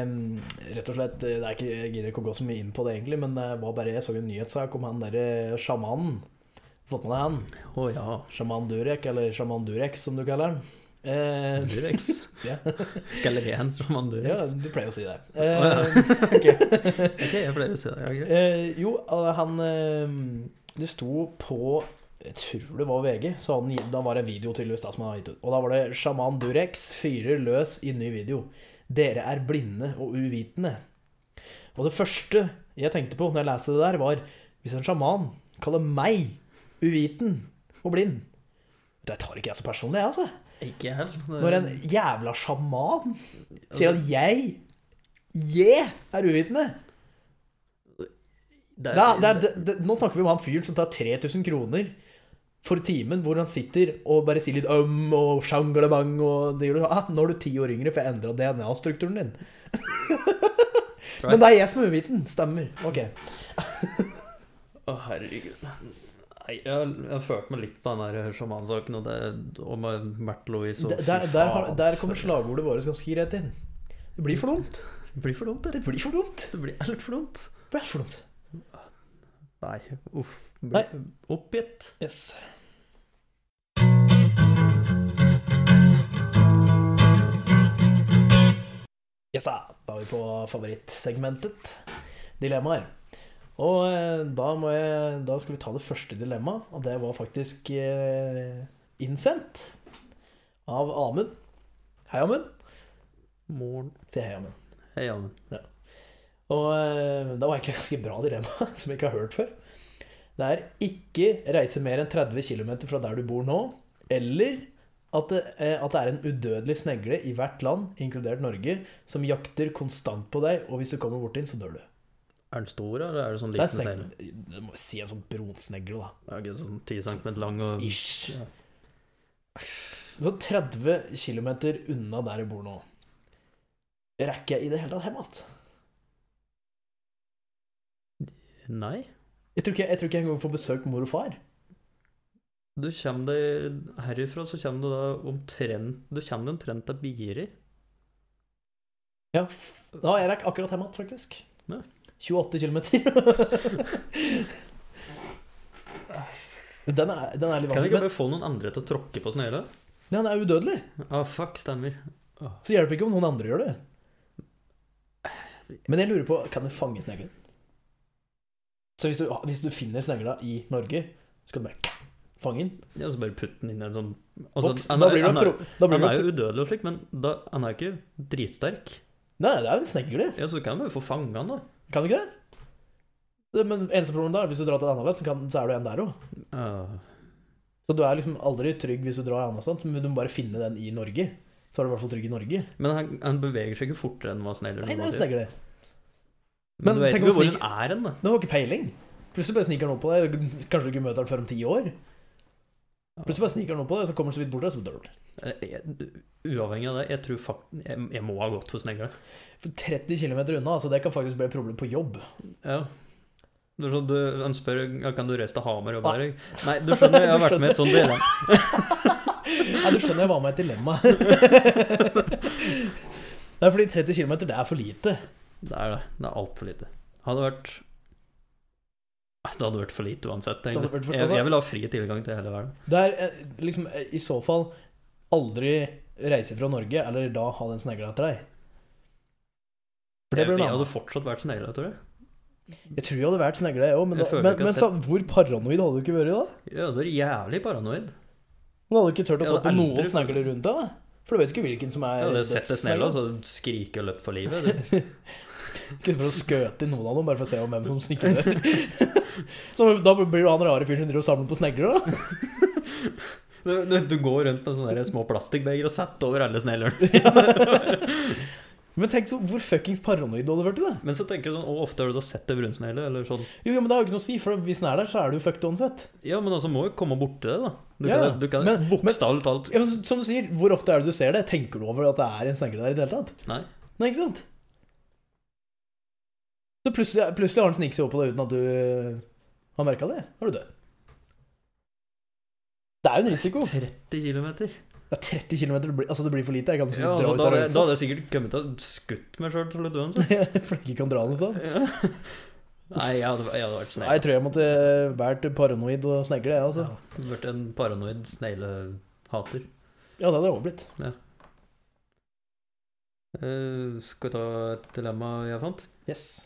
B: eh, rett og slett eh, det er ikke, Jeg gidder ikke å gå så mye inn på det, egentlig, men det var bare jeg så en nyhetssak om han derre eh, sjamanen. Fått med deg han?
A: *laughs* Å ja.
B: Sjaman Durek, eller sjaman Durek, som du kaller han. Eh,
A: Durex. *laughs*
B: Ja.
A: Galerian som han
B: ja,
A: Durex.
B: du pleier å si det.
A: Å,
B: Eh, ok.
A: Ok, jeg pleier å si det. Ja, greit.
B: Eh, jo, eh, han eh, Det sto på Jeg tror det var VG. Så hadde han, gitt- da var det en video til da, som han hadde gitt ut. Og da var det 'Sjaman Durex fyrer løs i ny video'. 'Dere er blinde og uvitende'. Og det første jeg tenkte på når jeg leste det der, var hvis en sjaman kaller meg uviten og blind Det tar ikke jeg så personlig, jeg, altså.
A: Ikke jeg heller. Det-
B: Når en jævla sjaman sier at jeg Jeg er uvitende
A: det
B: det er, det er, det, det, nå snakker vi om han fyren som tar 3000 kroner for timen, hvor han sitter og bare sier litt øm og sjangalabang og det gjør du. Ah, nå er du ti år yngre, for jeg endra DNA-strukturen *laughs* din. Men det er jeg som er uviten. Stemmer. Ok.
A: Å, herregud. Nei, jeg har, jeg har følt meg litt på den der sjamansaken og, det- og med Märtha Louise og
B: Der, der, der, har- der kommer slagordet vårt ganske greit inn. Det blir for dumt.
A: Det blir for dumt, det.
B: Det blir for dumt.
A: Det blir alt for dumt.
B: Det blir for dumt.
A: Nei, uff.
B: Nei.
A: Blir oppgitt.
B: Yes. Yes da, da er vi på favorittsegmentet. Dilemmaer. Og eh, da, må jeg, da skal vi ta det første dilemmaet, og det var faktisk eh, innsendt av Amund. Hei, Amund.
A: Morgen.
B: Sier hei, Amund.
A: Hei, Amund.
B: Og eh, det var egentlig et ganske bra dilemma, *laughs* som jeg ikke har hørt før. Det er ikke reise mer enn 30 km fra der du bor nå, eller at det, eh, at det er en udødelig snegle i hvert land, inkludert Norge, som jakter konstant på deg, og hvis du kommer bort inn, så dør du.
A: Er den stor, eller er det sånn
B: Det er
A: liten
B: en
A: seil?
B: snegle. Du må si en sånn bronsnegle, da.
A: Ja, ikke sånn 10 cm lang og
B: Ish.
A: Ja.
B: Så 30 km unna der jeg bor nå. Rekker jeg i det hele tatt hjem igjen?
A: Nei.
B: Jeg tror ikke jeg tror ikke jeg engang får besøkt mor og far.
A: Du kommer deg herifra, så kommer du da omtrent Du kommer deg omtrent til Biri.
B: Ja, f- ja jeg rakk akkurat hjem igjen, faktisk.
A: Ja.
B: 28 km. den, er- den er litt
A: Kan vi ikke
B: vanskelig. Men
A: bare få noen andre til å tråkke på snøhvila?
B: ja, den er udødelig,
A: Ah, fuck, stemmer.
B: så hjelper ikke om noen andre gjør det. Men jeg lurer på, kan jeg fange sneglen? Så hvis du, hvis du finner snegla i Norge, så kan du bare kah, fange den?
A: Ja, så bare putt den inn i en sånn
B: Boks?
A: han
B: Da
A: er-
B: blir du
A: han
B: en
A: er-
B: pro... Da blir
A: Han
B: du
A: er
B: en
A: jo
B: pro
A: udødelig og slik, men da, han er jo ikke dritsterk.
B: Nei, det er jo en snegle.
A: Ja, Så du kan bare få fange han, da.
B: Kan du ikke det? Det- Men eneste problemet da er at hvis du drar til et annet land, så, kan, så er du en der òg.
A: Ah,
B: Så du er liksom aldri trygg hvis du drar et annet sted, men du må bare finne den i Norge. Så er du i hvert fall trygg i Norge.
A: men han, han beveger seg ikke fortere enn hva snegler
B: Nei, det er en
A: normalt gjør.
B: snegle. Men
A: Men du vet
B: tenk
A: ikke
B: om
A: hvor
B: snik-
A: den er hen, da.
B: Du har ikke peiling. Plutselig bare sniker han opp på deg. Kanskje du ikke møter han før om ti år. Plutselig bare sniker han opp på deg, så kommer han så vidt bort til deg, så dør du.
A: Eh, jeg- Uavhengig av det, jeg tror fakt... Jeg, jeg må ha gått for snegler.
B: For 30 km unna, altså det kan faktisk bli et problem på jobb.
A: Ja. sånn, Du, skjønner, du, han spør ja, kan du reise til Hamar og bare Nei, du skjønner, jeg har
B: Du
A: vært med i et sånt dilemma.
B: Nei, du skjønner jeg var med i et dilemma. Nei, fordi 30 km, det er for lite.
A: Det er det. Det er altfor lite. Hadde vært Ah, Det hadde vært for lite uansett,
B: hadde
A: egentlig.
B: vært for-
A: Jeg,
B: altså-
A: jeg vil ha fri tilgang til hele verden.
B: Det er eh, liksom eh, i så fall aldri reise fra Norge, eller da ha den snegla etter deg. For
A: Jeg,
B: det blir
A: jeg hadde
B: noe annet.
A: fortsatt vært snegle, tror jeg.
B: Jeg tror jeg hadde vært snegle, jeg òg, men,
A: Jeg
B: da-
A: føler
B: men,
A: ikke jeg
B: men
A: har
B: så, hvor paranoid hadde du ikke vært da?
A: Jeg hadde vært jævlig paranoid.
B: Du hadde ikke turt å
A: Jeg
B: ta
A: hadde
B: på
A: aldri-
B: noen snegler rundt deg, da? For du vet ikke hvilken som
A: Jeg
B: er
A: hadde sett altså. det snelle
B: dødssnegla. *laughs*
A: og så skrike og løpt for livet. Det-
B: Kunne prøve å skøte i noen av dem, bare for å se om hvem som snikker der. *laughs* Så da blir du han rare fyren som driver og samler på snegler, da.
A: Du, du, du går rundt med sånne der små plastikkbeger og setter over alle sneglene.
B: Men tenk så hvor fuckings paranoid du hadde vært, da.
A: Men så tenker du sånn Å, ofte har du da sett ei brunsnegle, eller sånn.
B: Jo, jo, men det har jo ikke noe å si, for hvis den er der, så er du fucked uansett.
A: Ja, men altså må jo komme borti det, da. Du
B: Ja,
A: kan, du kan
B: men- men-
A: bokstavelig talt
B: Ja, men Som du sier, hvor ofte er det du ser det? Tenker du over at det er en snegle der i det hele tatt?
A: Nei.
B: Nei, ikke sant? Så plutselig, plutselig har den sniket seg opp på deg uten at du har merka det. Da er du død. Det er jo en risiko.
A: 30 km.
B: Ja, 30 km altså, det blir for lite. Jeg kan
A: Ja,
B: dra
A: altså, da,
B: ut av
A: hadde, jeg- da hadde
B: Raufoss.
A: jeg sikkert kommet til å skutt meg sjøl til å dø. altså.
B: *laughs* For ikke kan dra noe sånt.
A: Ja. *laughs* Nei, jeg hadde, jeg hadde vært
B: sånn. Nei, jeg
A: snegle.
B: tror jeg måtte eh, vært paranoid og snegle, jeg, altså.
A: Ja, vært en paranoid sneglehater.
B: Ja, det hadde jeg også blitt.
A: Eh, skal vi ta et dilemma jeg fant? *clears throat*
B: Yes.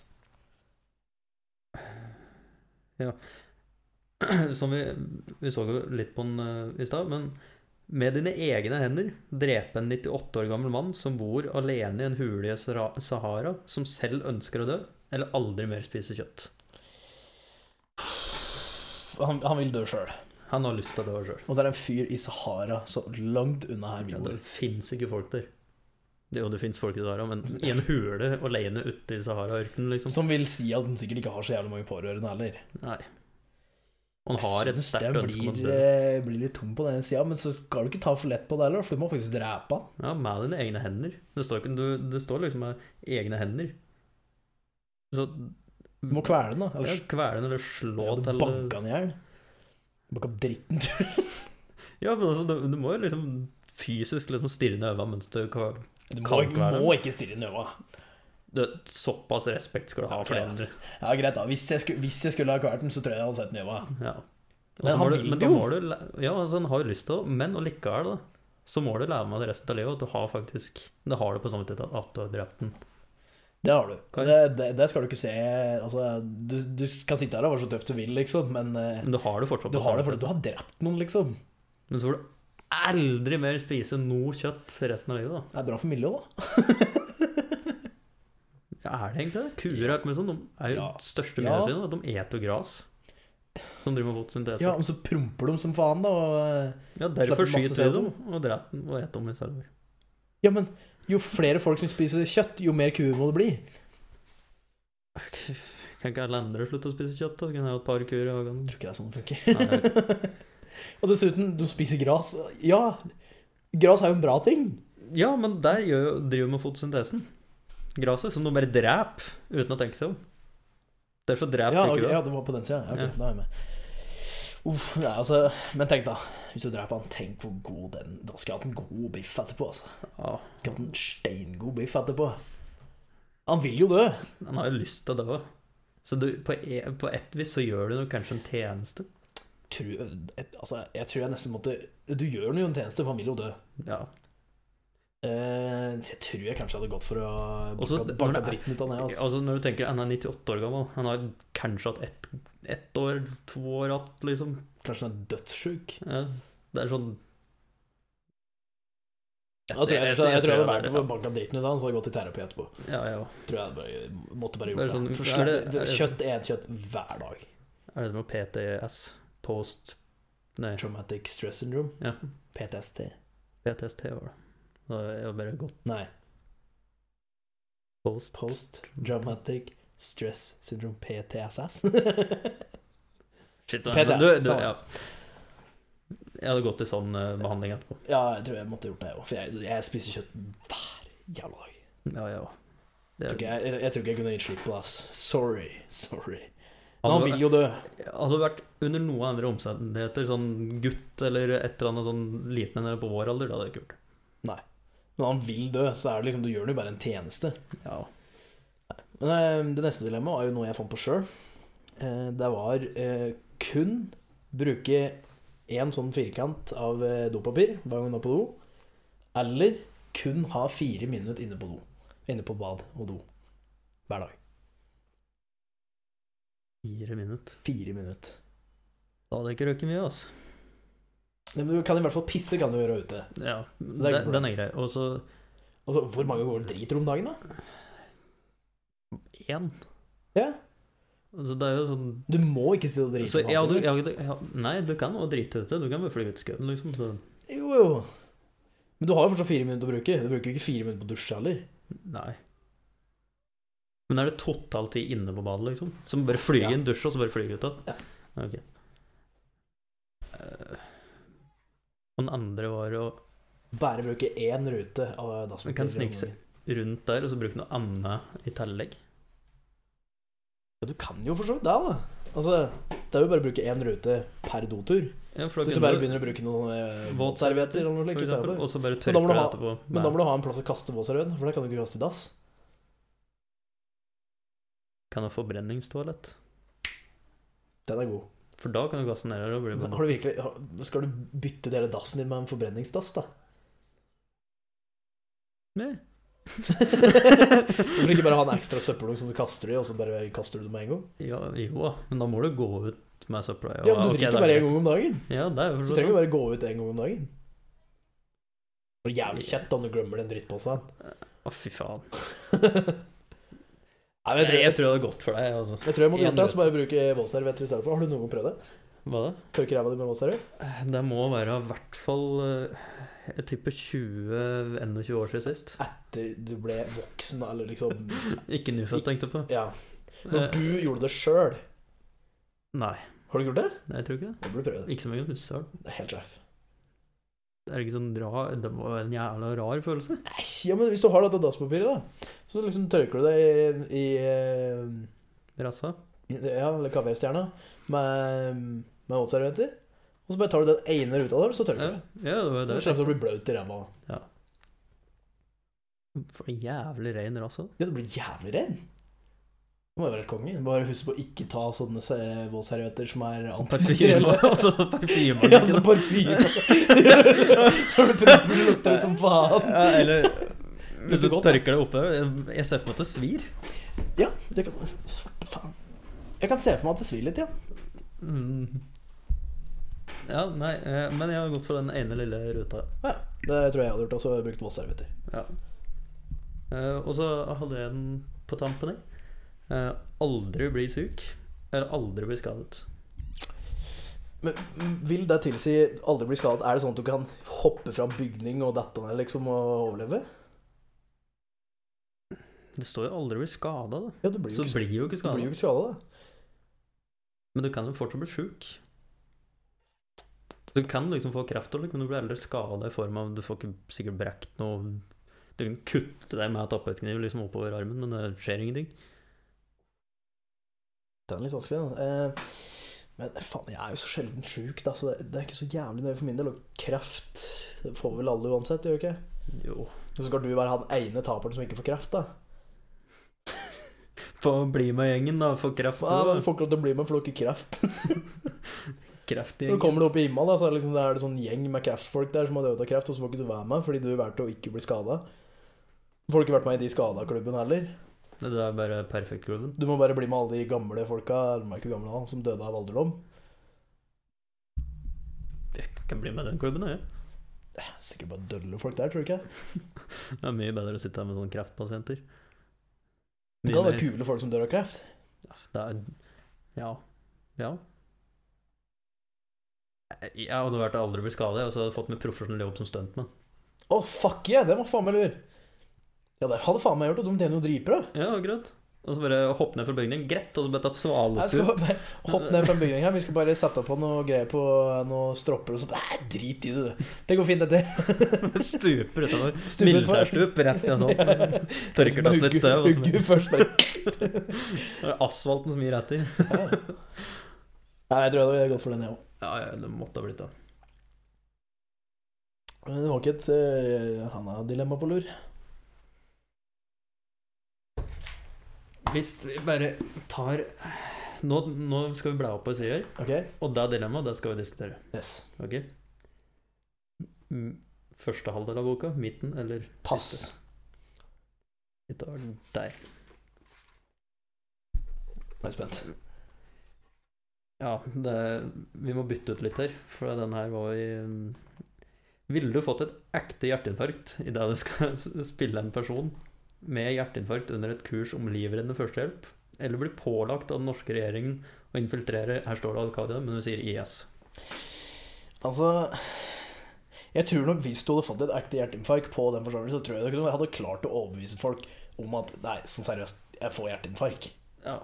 A: Som vi, vi så jo litt på den eh, i stad, men med dine egne hender drepe en 98 år gammel mann som bor alene i en hule i Sahara- Sahara, som selv ønsker å dø, eller aldri mer spise kjøtt.
B: Han, han vil dø sjøl.
A: Han har lyst til å dø sjøl.
B: Og det er en fyr i Sahara, så langt unna her vi
A: Ja,
B: bor.
A: det fins ikke folk der. Det, jo, det fins folk i Sahara, men i en hule alene ute i Sahara-ørkenen, liksom.
B: Som vil si at han sikkert ikke har så jævlig mange pårørende heller.
A: Nei. Han har et
B: Jeg synes
A: sterkt
B: den
A: ønske om å
B: blir,
A: dø.
B: eh, blir litt tom på den sida, men så skal du ikke ta for lett på det heller, for du må faktisk drepe han.
A: Ja, med dine egne hender. Det står, ikke, du, det står liksom med egne hender. Så
B: Du må kvele den, da.
A: ja,
B: Eller
A: kvele den, eller slå
B: ja, du
A: til
B: banke han i hjel. Bare dritten du
A: Ja, men altså, du, du må jo liksom fysisk liksom stirre ned øynene mens du kan
B: Du må,
A: Kan ikke være det.
B: må ikke stirre inn i øynene.
A: du, Såpass respekt skal du ha for det
B: Ja, ok.
A: andre.
B: Ja, greit, da. Hvis jeg skulle, hvis jeg skulle ha klart den, så tror jeg jeg hadde sett den i øynene.
A: Ja. Og
B: Men
A: så må
B: han
A: du,
B: vil
A: men da
B: jo.
A: må du læ- Ja, altså, han har jo lyst til det, men allikevel, da. Så må du lære meg det resten av livet at du har faktisk Det har du på samvittigheten at du har drept den.
B: Det har du.
A: Kan-
B: Det, det, det skal du ikke se Altså, du, du kan sitte her og være så tøff du vil, liksom, men eh,
A: Men du har det fortsatt
B: du
A: på
B: har det
A: samvittigheten.
B: fordi du har drept noen, liksom.
A: Men så får du aldri mer spise noe kjøtt resten av livet, da.
B: Det er bra for miljøet, da.
A: Ja, er det egentlig det? Kuer og alt mulig sånt, de er jo
B: Ja.
A: største
B: Ja.
A: miljøsvin. da. De eter jo gras. Som driver med fotosyntese.
B: Ja,
A: Ja,
B: og så promper de som faen, da. Og, eh,
A: derfor
B: slipper masse
A: skyter de
B: CO2.
A: dem og dreper dem og eter dem i server.
B: ja, men jo flere folk som spiser kjøtt, jo mer kuer må det bli.
A: Kan ikke alle andre slutte å spise kjøtt? da? Så kan jeg ha et par kuer i hagen.
B: Jeg tror ikke det er sånn det
A: Nei, jeg
B: funker. *laughs* og dessuten, du spiser gras. Ja, gras er jo en bra ting.
A: Ja, men der gjør, jo- driver med fotosyntesen. Graset, som de bare dreper uten å tenke seg om. Derfor dreper
B: Ja,
A: de
B: ok,
A: kua.
B: ja, det var på den sida. Ja, ok,
A: Ja.
B: Da er jeg med. Uff, nei, altså, men tenk, da. Hvis du dreper han, tenk hvor god den Da skal jeg hatt en god biff etterpå. Altså.
A: Ja,
B: Skal jeg hatt en steingod biff etterpå. Han vil jo dø.
A: han har jo lyst til å dø. Så du, på, e, på et vis så gjør du nok kanskje en tjeneste.
B: Tror, et, altså, jeg tror jeg nesten måtte Du gjør ham jo en tjeneste, for han vil jo dø.
A: Ja.
B: Eh, så jeg tror jeg kanskje hadde gått for å
A: Også,
B: banka-
A: når
B: banka
A: det
B: dritten ut av det. Altså.
A: Altså Når du tenker han er 98 år gammel, han har kanskje hatt ett ett år, to år hatt, liksom.
B: Kanskje han er dødssjuk.
A: Ja, det er sånn
B: Jeg tror jeg, jeg, jeg, tror jeg hadde vært
A: det,
B: for å banka dritten ut av han, så hadde jeg gått i terapi etterpå.
A: Ja, ja.
B: Tror jeg hadde bare, måtte bare
A: Det er
B: gjort
A: sånn-
B: det. For
A: er det- er
B: slutt-
A: det-
B: Kjøtt er et kjøtt hver dag.
A: Er det som med PTS? Post Nei,
B: Traumatic Stress Syndrome.
A: Ja.
B: PTSD.
A: PTST var det. Da er jeg bare gått
B: Nei,
A: post.
B: Post Dramatic Stress Syndrome, PTSS.
A: Shit,
B: PTS,
A: men du, du,
B: samme.
A: ja. Jeg hadde gått i sånn eh, behandling etterpå.
B: *laughs* ja, jeg tror jeg måtte gjort det, jeg òg. For jeg, jeg spiser kjøtt hver jævla dag.
A: Ja, ja. Det,
B: Jeg tror ikke jeg, jeg, jeg, tror ikke jeg kunne gitt slipp på det. ass. Sorry. Sorry. Men han
A: hadde,
B: vil jo dø.
A: hadde vært under noen andre omstendigheter, sånn gutt eller et eller annet sånn liten en eller på vår alder, da hadde jeg ikke gjort det.
B: Når han vil dø, så er det liksom, du gjør det jo bare en tjeneste.
A: Ja.
B: Men eh, det neste dilemmaet var jo noe jeg fant på sjøl. Det var eh, kun bruke én sånn firkant av eh, dopapir hver gang du er på do, eller kun ha fire minutter inne på do. Inne på bad og do. Hver dag.
A: Fire minutter.
B: Fire minutter.
A: Da hadde jeg ikke røket mye, altså.
B: Men du kan i hvert fall pisse kan du gjøre ute.
A: Ja,
B: er
A: den,
B: ikke
A: den er grei. Og så
B: Altså, hvor mange går og driter om dagen, da?
A: én.
B: Ja.
A: Altså, det er jo sånn
B: Du må ikke sitte og drite.
A: så,
B: om
A: ja,
B: alt,
A: du, ja,
B: eller?
A: du, ja, Nei, du kan jo drite ut det. Du kan bare fly ut i skauen, liksom. Så,
B: Jo, jo. Men du har jo fortsatt fire minutter å bruke. Du bruker jo ikke fire minutter på å dusje heller.
A: nei. Men er det totalt tid inne på badet, liksom? Som bare flyr
B: Ja.
A: inn, dusjer, og så bare flyr ut
B: Ja.
A: igjen? Ok. Eh, Og den andre var å
B: Bare bruke én rute av
A: Man kan snike seg. rundt der, og så bruke noe annet i tillegg.
B: Ja, du kan jo for så vidt det, da. Altså, det er jo bare å bruke én rute per dotur.
A: Ja, for da
B: Så hvis du
A: kunne
B: bare begynner å bruke noen sånne eh, våtservietter eller noe
A: for
B: slikt i stedet
A: eksempel,
B: for.
A: Og så bare
B: Men da
A: tørker
B: må du
A: du
B: ha-
A: etterpå.
B: Men da må du ha en plass å kaste våtserviett, for det kan du ikke kaste i dass.
A: Kan ha forbrenningstoalett.
B: Den er god.
A: For da kan du gasse ned her og bli
B: Men har du virkelig har- Skal du bytte ut hele dassen din med en forbrenningsdass, da?
A: Nei.
B: *laughs* Hvorfor ikke bare ha en ekstra søppeldunk som du kaster i, og så bare kaster du det med en gang?
A: Ja, jo, men da må du gå ut med søpla.
B: Ja, men du
A: ok, det
B: driter
A: er
B: bare
A: greit.
B: en gang om dagen.
A: Ja, det er jo
B: Du trenger jo bare gå ut en gang om dagen. Det er jævlig kjett om du glemmer den drittposen.
A: Å, fy faen.
B: *laughs* Nei, men
A: Jeg tror,
B: jeg tror
A: jeg tror det er godt for deg, altså.
B: Jeg tror jeg måtte
A: En
B: gjort det,
A: rute.
B: så bare bruke våtservietter i stedet for. Har du noen gang prøvd det?
A: Hva da?
B: Tørke ræva di med våtserviett?
A: Det må være i hvert fall eh, Jeg tipper 20-21 år siden *laughs* sist.
B: Etter du ble voksen, da, eller liksom
A: Ikke nyfødt, tenkte jeg på.
B: *laughs* Ja.
A: Eh,
B: Når du gjorde det sjøl,
A: Nei,
B: har du ikke gjort det?
A: nei, jeg tror ikke det.
B: Det burde du prøve.
A: Ikke som jeg kan huske. i hvert fall.
B: Det er helt sjef.
A: Det er ikke sånn rar Det var en jævla rar følelse.
B: Æsj, ja, men hvis du har dette dasspapiret, da, så liksom tørker du deg i, i
A: Rassa.
B: eh, Ja, eller kaféstjerna med, med våtservietter. Og så bare tar du den ene ruta der, og så
A: Ja,
B: tørker du.
A: ja, det var
B: Ja,
A: det.
B: du slipper å bli bløt i ræva.
A: For en jævlig rein rass òg.
B: Ja, du blir jævlig ren. Du må jo være helt konge. Bare husk på å ikke ta sånne se- våtservietter som er
A: *laughs* *laughs* Parfyme
B: *laughs* antibakterielle.
A: og så parfyme. liksom.
B: Ja, som parfyme. *laughs* Så du prøver å lukte det som faen.
A: Ja, eller
B: Lukter
A: Hvis du
B: godt, da.
A: tørker det oppe Jeg ser på meg at det svir.
B: Ja, det kan Svarte faen. Jeg kan se for meg at det svir litt, ja.
A: Mm. Ja, nei, eh, men jeg har gått for den ene lille ruta.
B: ja. Det tror jeg jeg hadde gjort også. Brukt våtservietter.
A: Ja. Eh, og så hadde jeg den på tampen i. Eh, aldri bli syk. Eller aldri bli skadet.
B: Men vil det tilsi aldri bli skadet? Er det sånn at du kan hoppe fra en bygning og dette ned liksom og overleve?
A: Det står jo 'aldri bli skada', da.
B: Ja, du blir
A: Så
B: jo ikke,
A: blir jo ikke
B: du blir jo
A: skada.
B: ikke skadet, da.
A: Men du kan jo fortsatt bli sjuk. Du kan liksom få kreft, og det, men du blir aldri skada i form av Du får ikke sikkert brekt noe Du kan kutte deg med tapetkniv liksom oppover armen, men det skjer ingenting.
B: Den er litt vanskelig, da. Eh, men faen, jeg er jo så sjelden sjuk, da, så det, det er ikke så jævlig nøye for min del. Og kreft det får vel alle uansett, gjør det ikke?
A: Jo.
B: Og så skal du være han ene taperen som ikke får kreft, da.
A: Få bli med gjengen, da. Få kreft.
B: Faen, men
A: du,
B: du får ikke lov til å bli med, for du har ikke kreft.
A: da. Kreft i
B: Når du
A: gjengen.
B: kommer opp i Imma, da, så er det, liksom, så er det sånn gjeng med kreftfolk der som har dødd av kreft, og så får ikke du være med fordi du valgte å ikke bli skada. Får du ikke vært med i de skada klubben heller.
A: Det er bare perfekt-klubben.
B: Du må bare bli med alle de gamle folka, eller de er ikke gamle, da, som døde av alderdom.
A: Jeg kan bli med i den klubben, jeg.
B: Sikkert bare dølle folk der, tror du ikke?
A: Det er mye bedre å sitte her med sånne kreftpasienter.
B: Det kan være kule folk som dør av kreft.
A: Ja, Det er Ja. Ja. Jeg hadde vært aldri blitt skadet, og så hadde jeg fått meg profesjonell jobb som stuntmann.
B: Å, fuck yeah, den var faen meg lur! Ja, det hadde faen meg gjort, og de tjener jo dritbra.
A: Ja, akkurat. Og så bare hoppe ned fra bygningen. Greit! Og så bare tatt
B: Jeg
A: svalestue. *laughs*
B: skal bare hoppe ned fra en bygning her, vi skal bare sette på noe greier på noe stropper og sånn. Nei, drit i det, du. Det går fint, dette.
A: Stuper utover.
B: *laughs* Stuper for-
A: Militærstup rett i
B: *laughs*
A: asfalten. sånn. Tørker til oss litt
B: Hugge-
A: støv. altså. Og så
B: hugge først, bare.
A: bare- *laughs* asfalten som gir rett i.
B: Ja. Nei, jeg tror jeg hadde gått for den, jeg òg.
A: Ja, ja, det måtte ha blitt det.
B: Men det var ikke et uh, Hanna-dilemma på lur.
A: Hvis vi bare tar Nå, nå skal vi bla opp på sider,
B: Ok?
A: og det dilemmaet, det skal vi diskutere.
B: Yes.
A: Ok. M- Første halvdel av boka, midten eller
B: Pass.
A: siste? Vi tar den der.
B: Jeg er spent.
A: Ja, det, vi må bytte ut litt her, for den her var i mm, Ville du fått et ekte hjerteinfarkt idet du skal s- spille en person med hjerteinfarkt under et kurs om livreddende førstehjelp, eller bli pålagt av den norske regjeringen å infiltrere Her står det Al Qaida, men du sier IS.
B: Altså Jeg tror nok hvis du hadde fått et ekte hjerteinfarkt på den forsamlingen, så tror jeg dere hadde klart å overbevise folk om at Nei, sånn seriøst, jeg får hjerteinfarkt.
A: Ja.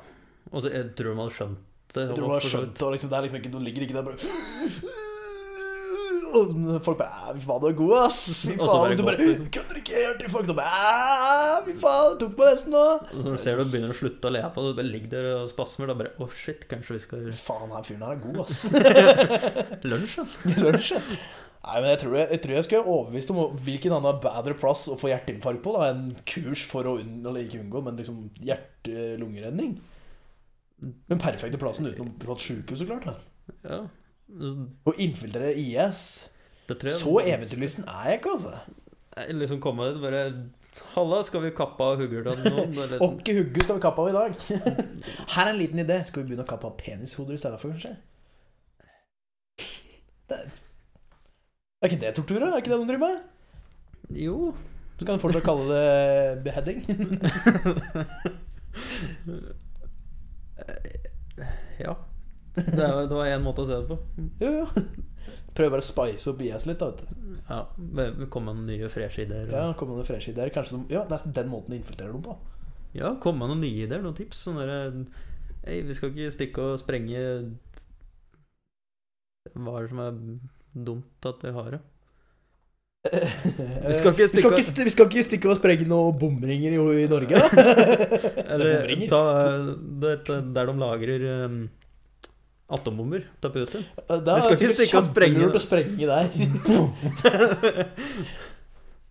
A: Og så jeg tror man hadde skjønt det.
B: Jeg tror du
A: og
B: har
A: for så vidt-
B: skjønt og liksom, det er liksom ikke, Du ligger ikke der bare og Folk bare «Æ, Fy faen, du er god, ass! Fy
A: Og så
B: faen,
A: bare
B: og du
A: gå,
B: bare
A: liksom.
B: Kødder ikke hjerteinfarkt! Og bare «Æ, Fy faen, tok meg nesten nå!
A: Og så Når du ser du begynner å slutte å le på det, du bare ligger der og spasmer, da bare Å, shit, kanskje vi skal
B: Faen, han fyren her er god, ass!
A: gjøre lunsj, da?
B: I lunsj, ja. Nei, men jeg tror jeg, jeg, tror jeg skulle overbevist om hvilken annen bedre plass å få hjerteinfarkt på da, enn kurs for å unn, eller ikke unngå, men liksom hjerte-lungeredning. Den perfekte plassen utenom på et sykehus, så klart. Da.
A: Ja.
B: Å infiltrere IS
A: Det tror jeg
B: Så eventyrlysten er jeg ikke, altså.
A: Jeg Liksom komme dit og bare Halla, skal vi kappe av hugger til
B: *laughs*
A: noen? Eller,
B: Åkke hugge skal vi kappe av i dag. *laughs* Her er en liten idé. Skal vi begynne å kappe av penishoder i stedet for, kanskje? Det er, er ikke det tortur, da? Er ikke det de driver med?
A: jo.
B: Så kan du fortsatt kalle det beheading.
A: Ja. Det, er- det var én måte å se det på.
B: Jo, jo. *laughs* Prøver bare å spice opp IS litt, da. vet du.
A: Ja, bare Komme med nye freshe ideer.
B: Ja, Kommer med noen freshe ideer. Kanskje de, ja, det er den måten de infiltrerer
A: *laughs*
B: dem på.
A: Ja, kom med noen nye ideer, noen tips. Sånn derre Hei, vi skal ikke stikke og sprenge Hva er det som er dumt at vi har det?
B: *laughs* Vi
A: skal ikke
B: vi skal
A: stikke-
B: ikke, st- vi skal ikke stikke og sprenge noen bomringer i, i Norge, da.
A: *laughs* Eller
B: bomringer.
A: ta eh, det, det- der de lagrer eh, Atombomber. Tappe ut dem.
B: Da
A: Vi skal
B: er det
A: ikke
B: sikkert
A: stikke og sprenge
B: kjempelurt
A: det.
B: å sprenge der. *laughs*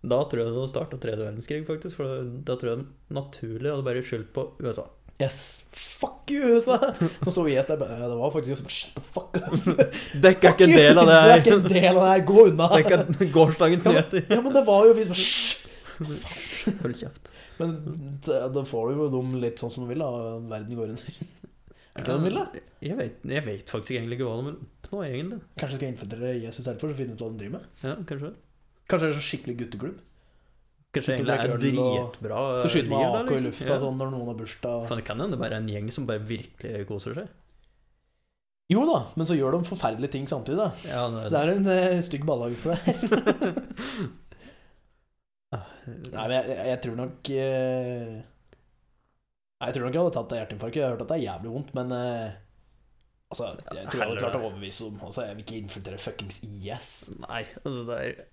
A: Da tror jeg det hadde starta tredje verdenskrig, faktisk. For da tror jeg det naturlig hadde bare skyldt på USA.
B: Yes. Fuck you,
A: *laughs*
B: USA! Nå står vi i yes der. bare, Det var faktisk jeg som bare Shut the fuck up.
A: Dekk er ikke en
B: Fuck you!
A: del av det
B: Du
A: her.
B: er ikke en del av det her. Gå unna.
A: Dekk er gårsdagens
B: Ja, men-
A: nyheter.
B: *laughs* Ja, men det var jo vi som bare Shh!
A: Hold kjeft.
B: Men det- da får du jo dem litt sånn som du vil, da. Verden går under. Er det det de vil, da?
A: Eh, Jeg vet, jeg vet faktisk egentlig ikke hva de vil oppnå, egentlig.
B: Kanskje jeg skal infiltrere Jesus derfor, så finne ut hva de driver med?
A: Ja, kanskje
B: Kanskje det er sånn skikkelig gutteklubb?
A: Kanskje
B: Sitte og
A: egentlig er
B: drikke øl og-
A: dritbra
B: Du skyter med
A: liv der,
B: AK i
A: liksom.
B: lufta
A: Ja.
B: sånn når noen har bursdag.
A: Faen, det kan hende det bare er en gjeng som bare virkelig koser seg.
B: Jo da, men så gjør de forferdelige ting samtidig, da.
A: Ja, det
B: Det er en eh, stygg
A: *laughs*
B: balanse der. Nei, men jeg, jeg tror nok eh, Nei, jeg tror nok jeg hadde tatt det hjerteinfarktet. Jeg har hørt at det er jævlig vondt, men eh, Altså, jeg tror jeg hadde klart å overbevise om Altså, jeg vil ikke infiltrere fuckings IS.
A: Nei, altså det er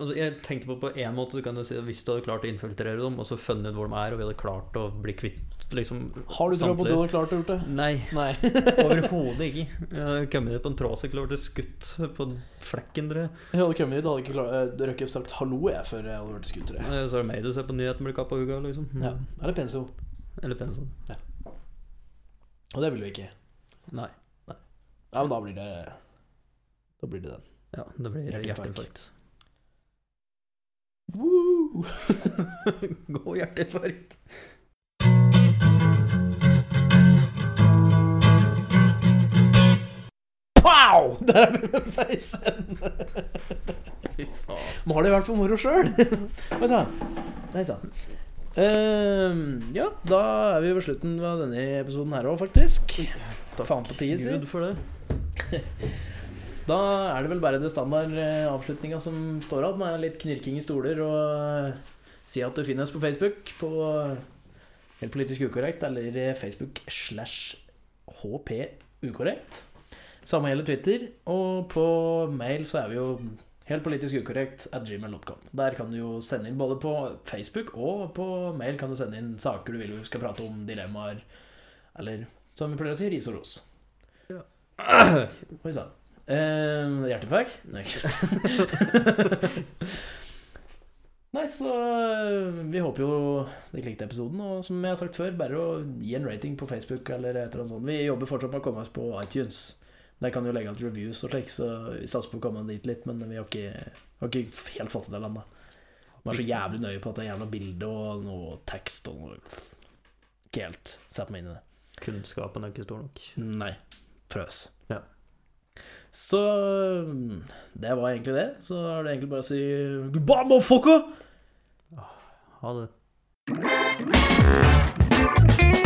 A: Altså, jeg tenkte på på en måte du kan jo si at Hvis du hadde klart å infiltrere dem og så funnet ut hvor de er, og vi hadde klart å bli kvitt liksom
B: Har du tro på at du
A: samtlige-
B: hadde klart å gjort det?
A: Nei,
B: Nei.
A: *laughs* overhodet ikke. Jeg hadde kommet hit på en tråsykkel og blitt skutt på flekken, tror jeg.
B: Jeg hadde kommet hit, hadde ikke klart, eh, røkket sagt hallo jeg før jeg hadde vært skutere.
A: Eh, Så er det meg du ser på nyheten blir kappa uka, liksom. Mm.
B: Ja. Eller pensum.
A: Eller pensel.
B: Og det vil vi ikke.
A: Nei.
B: Ja, men da blir det Da blir det den.
A: Ja, det blir hjerteinfarkt. *laughs*
B: Hjerteinfarkt. Woo!
A: God hjerteinfarkt.
B: Pow! *laughs* Der er vi med peisen.
A: Fy faen.
B: Må ha det i hvert fall moro *laughs* sjøl. Oi sann. Nei sann. Ehm, ja, da er vi ved slutten av denne episoden her òg, faktisk. Faen på tide, si.
A: Gud for det.
B: Da er det vel bare det standard eh, avslutninga som står igjen, med litt knirking i stoler og eh, si at du finner oss på Facebook på eh, Helt politisk ukorrekt eller eh, Facebook slash HP ukorrekt. Samme gjelder Twitter. Og på mail så er vi jo helt politisk ukorrekt at gmail.com. Der kan du jo sende inn både på Facebook og på mail kan du sende inn saker du vil vi skal prate om, dilemmaer eller som vi pleier å si, ris og ros. Oi sann. Uh, Hjerteinfarkt? Nei. Nei, så eh, vi håper jo dere likte episoden. Og som jeg har sagt før, bare å gi en rating på Facebook eller et eller annet sånt. Vi jobber fortsatt med å komme oss på iTunes. Der kan du legge igjen reviews og slik, så vi satser på å komme dit litt. Men vi har ikke, har ikke helt fått det til ennå. Vi er så jævlig nøye på at det er jævla bilde og noe tekst og noe Ikke helt satt meg inn i det.
A: Kunnskapen er ikke stor nok.
B: Nei. Frøs.
A: Ja.
B: Så mm, det var egentlig det. Så er det egentlig bare å si goodbye, motherfucker!
A: Ha det.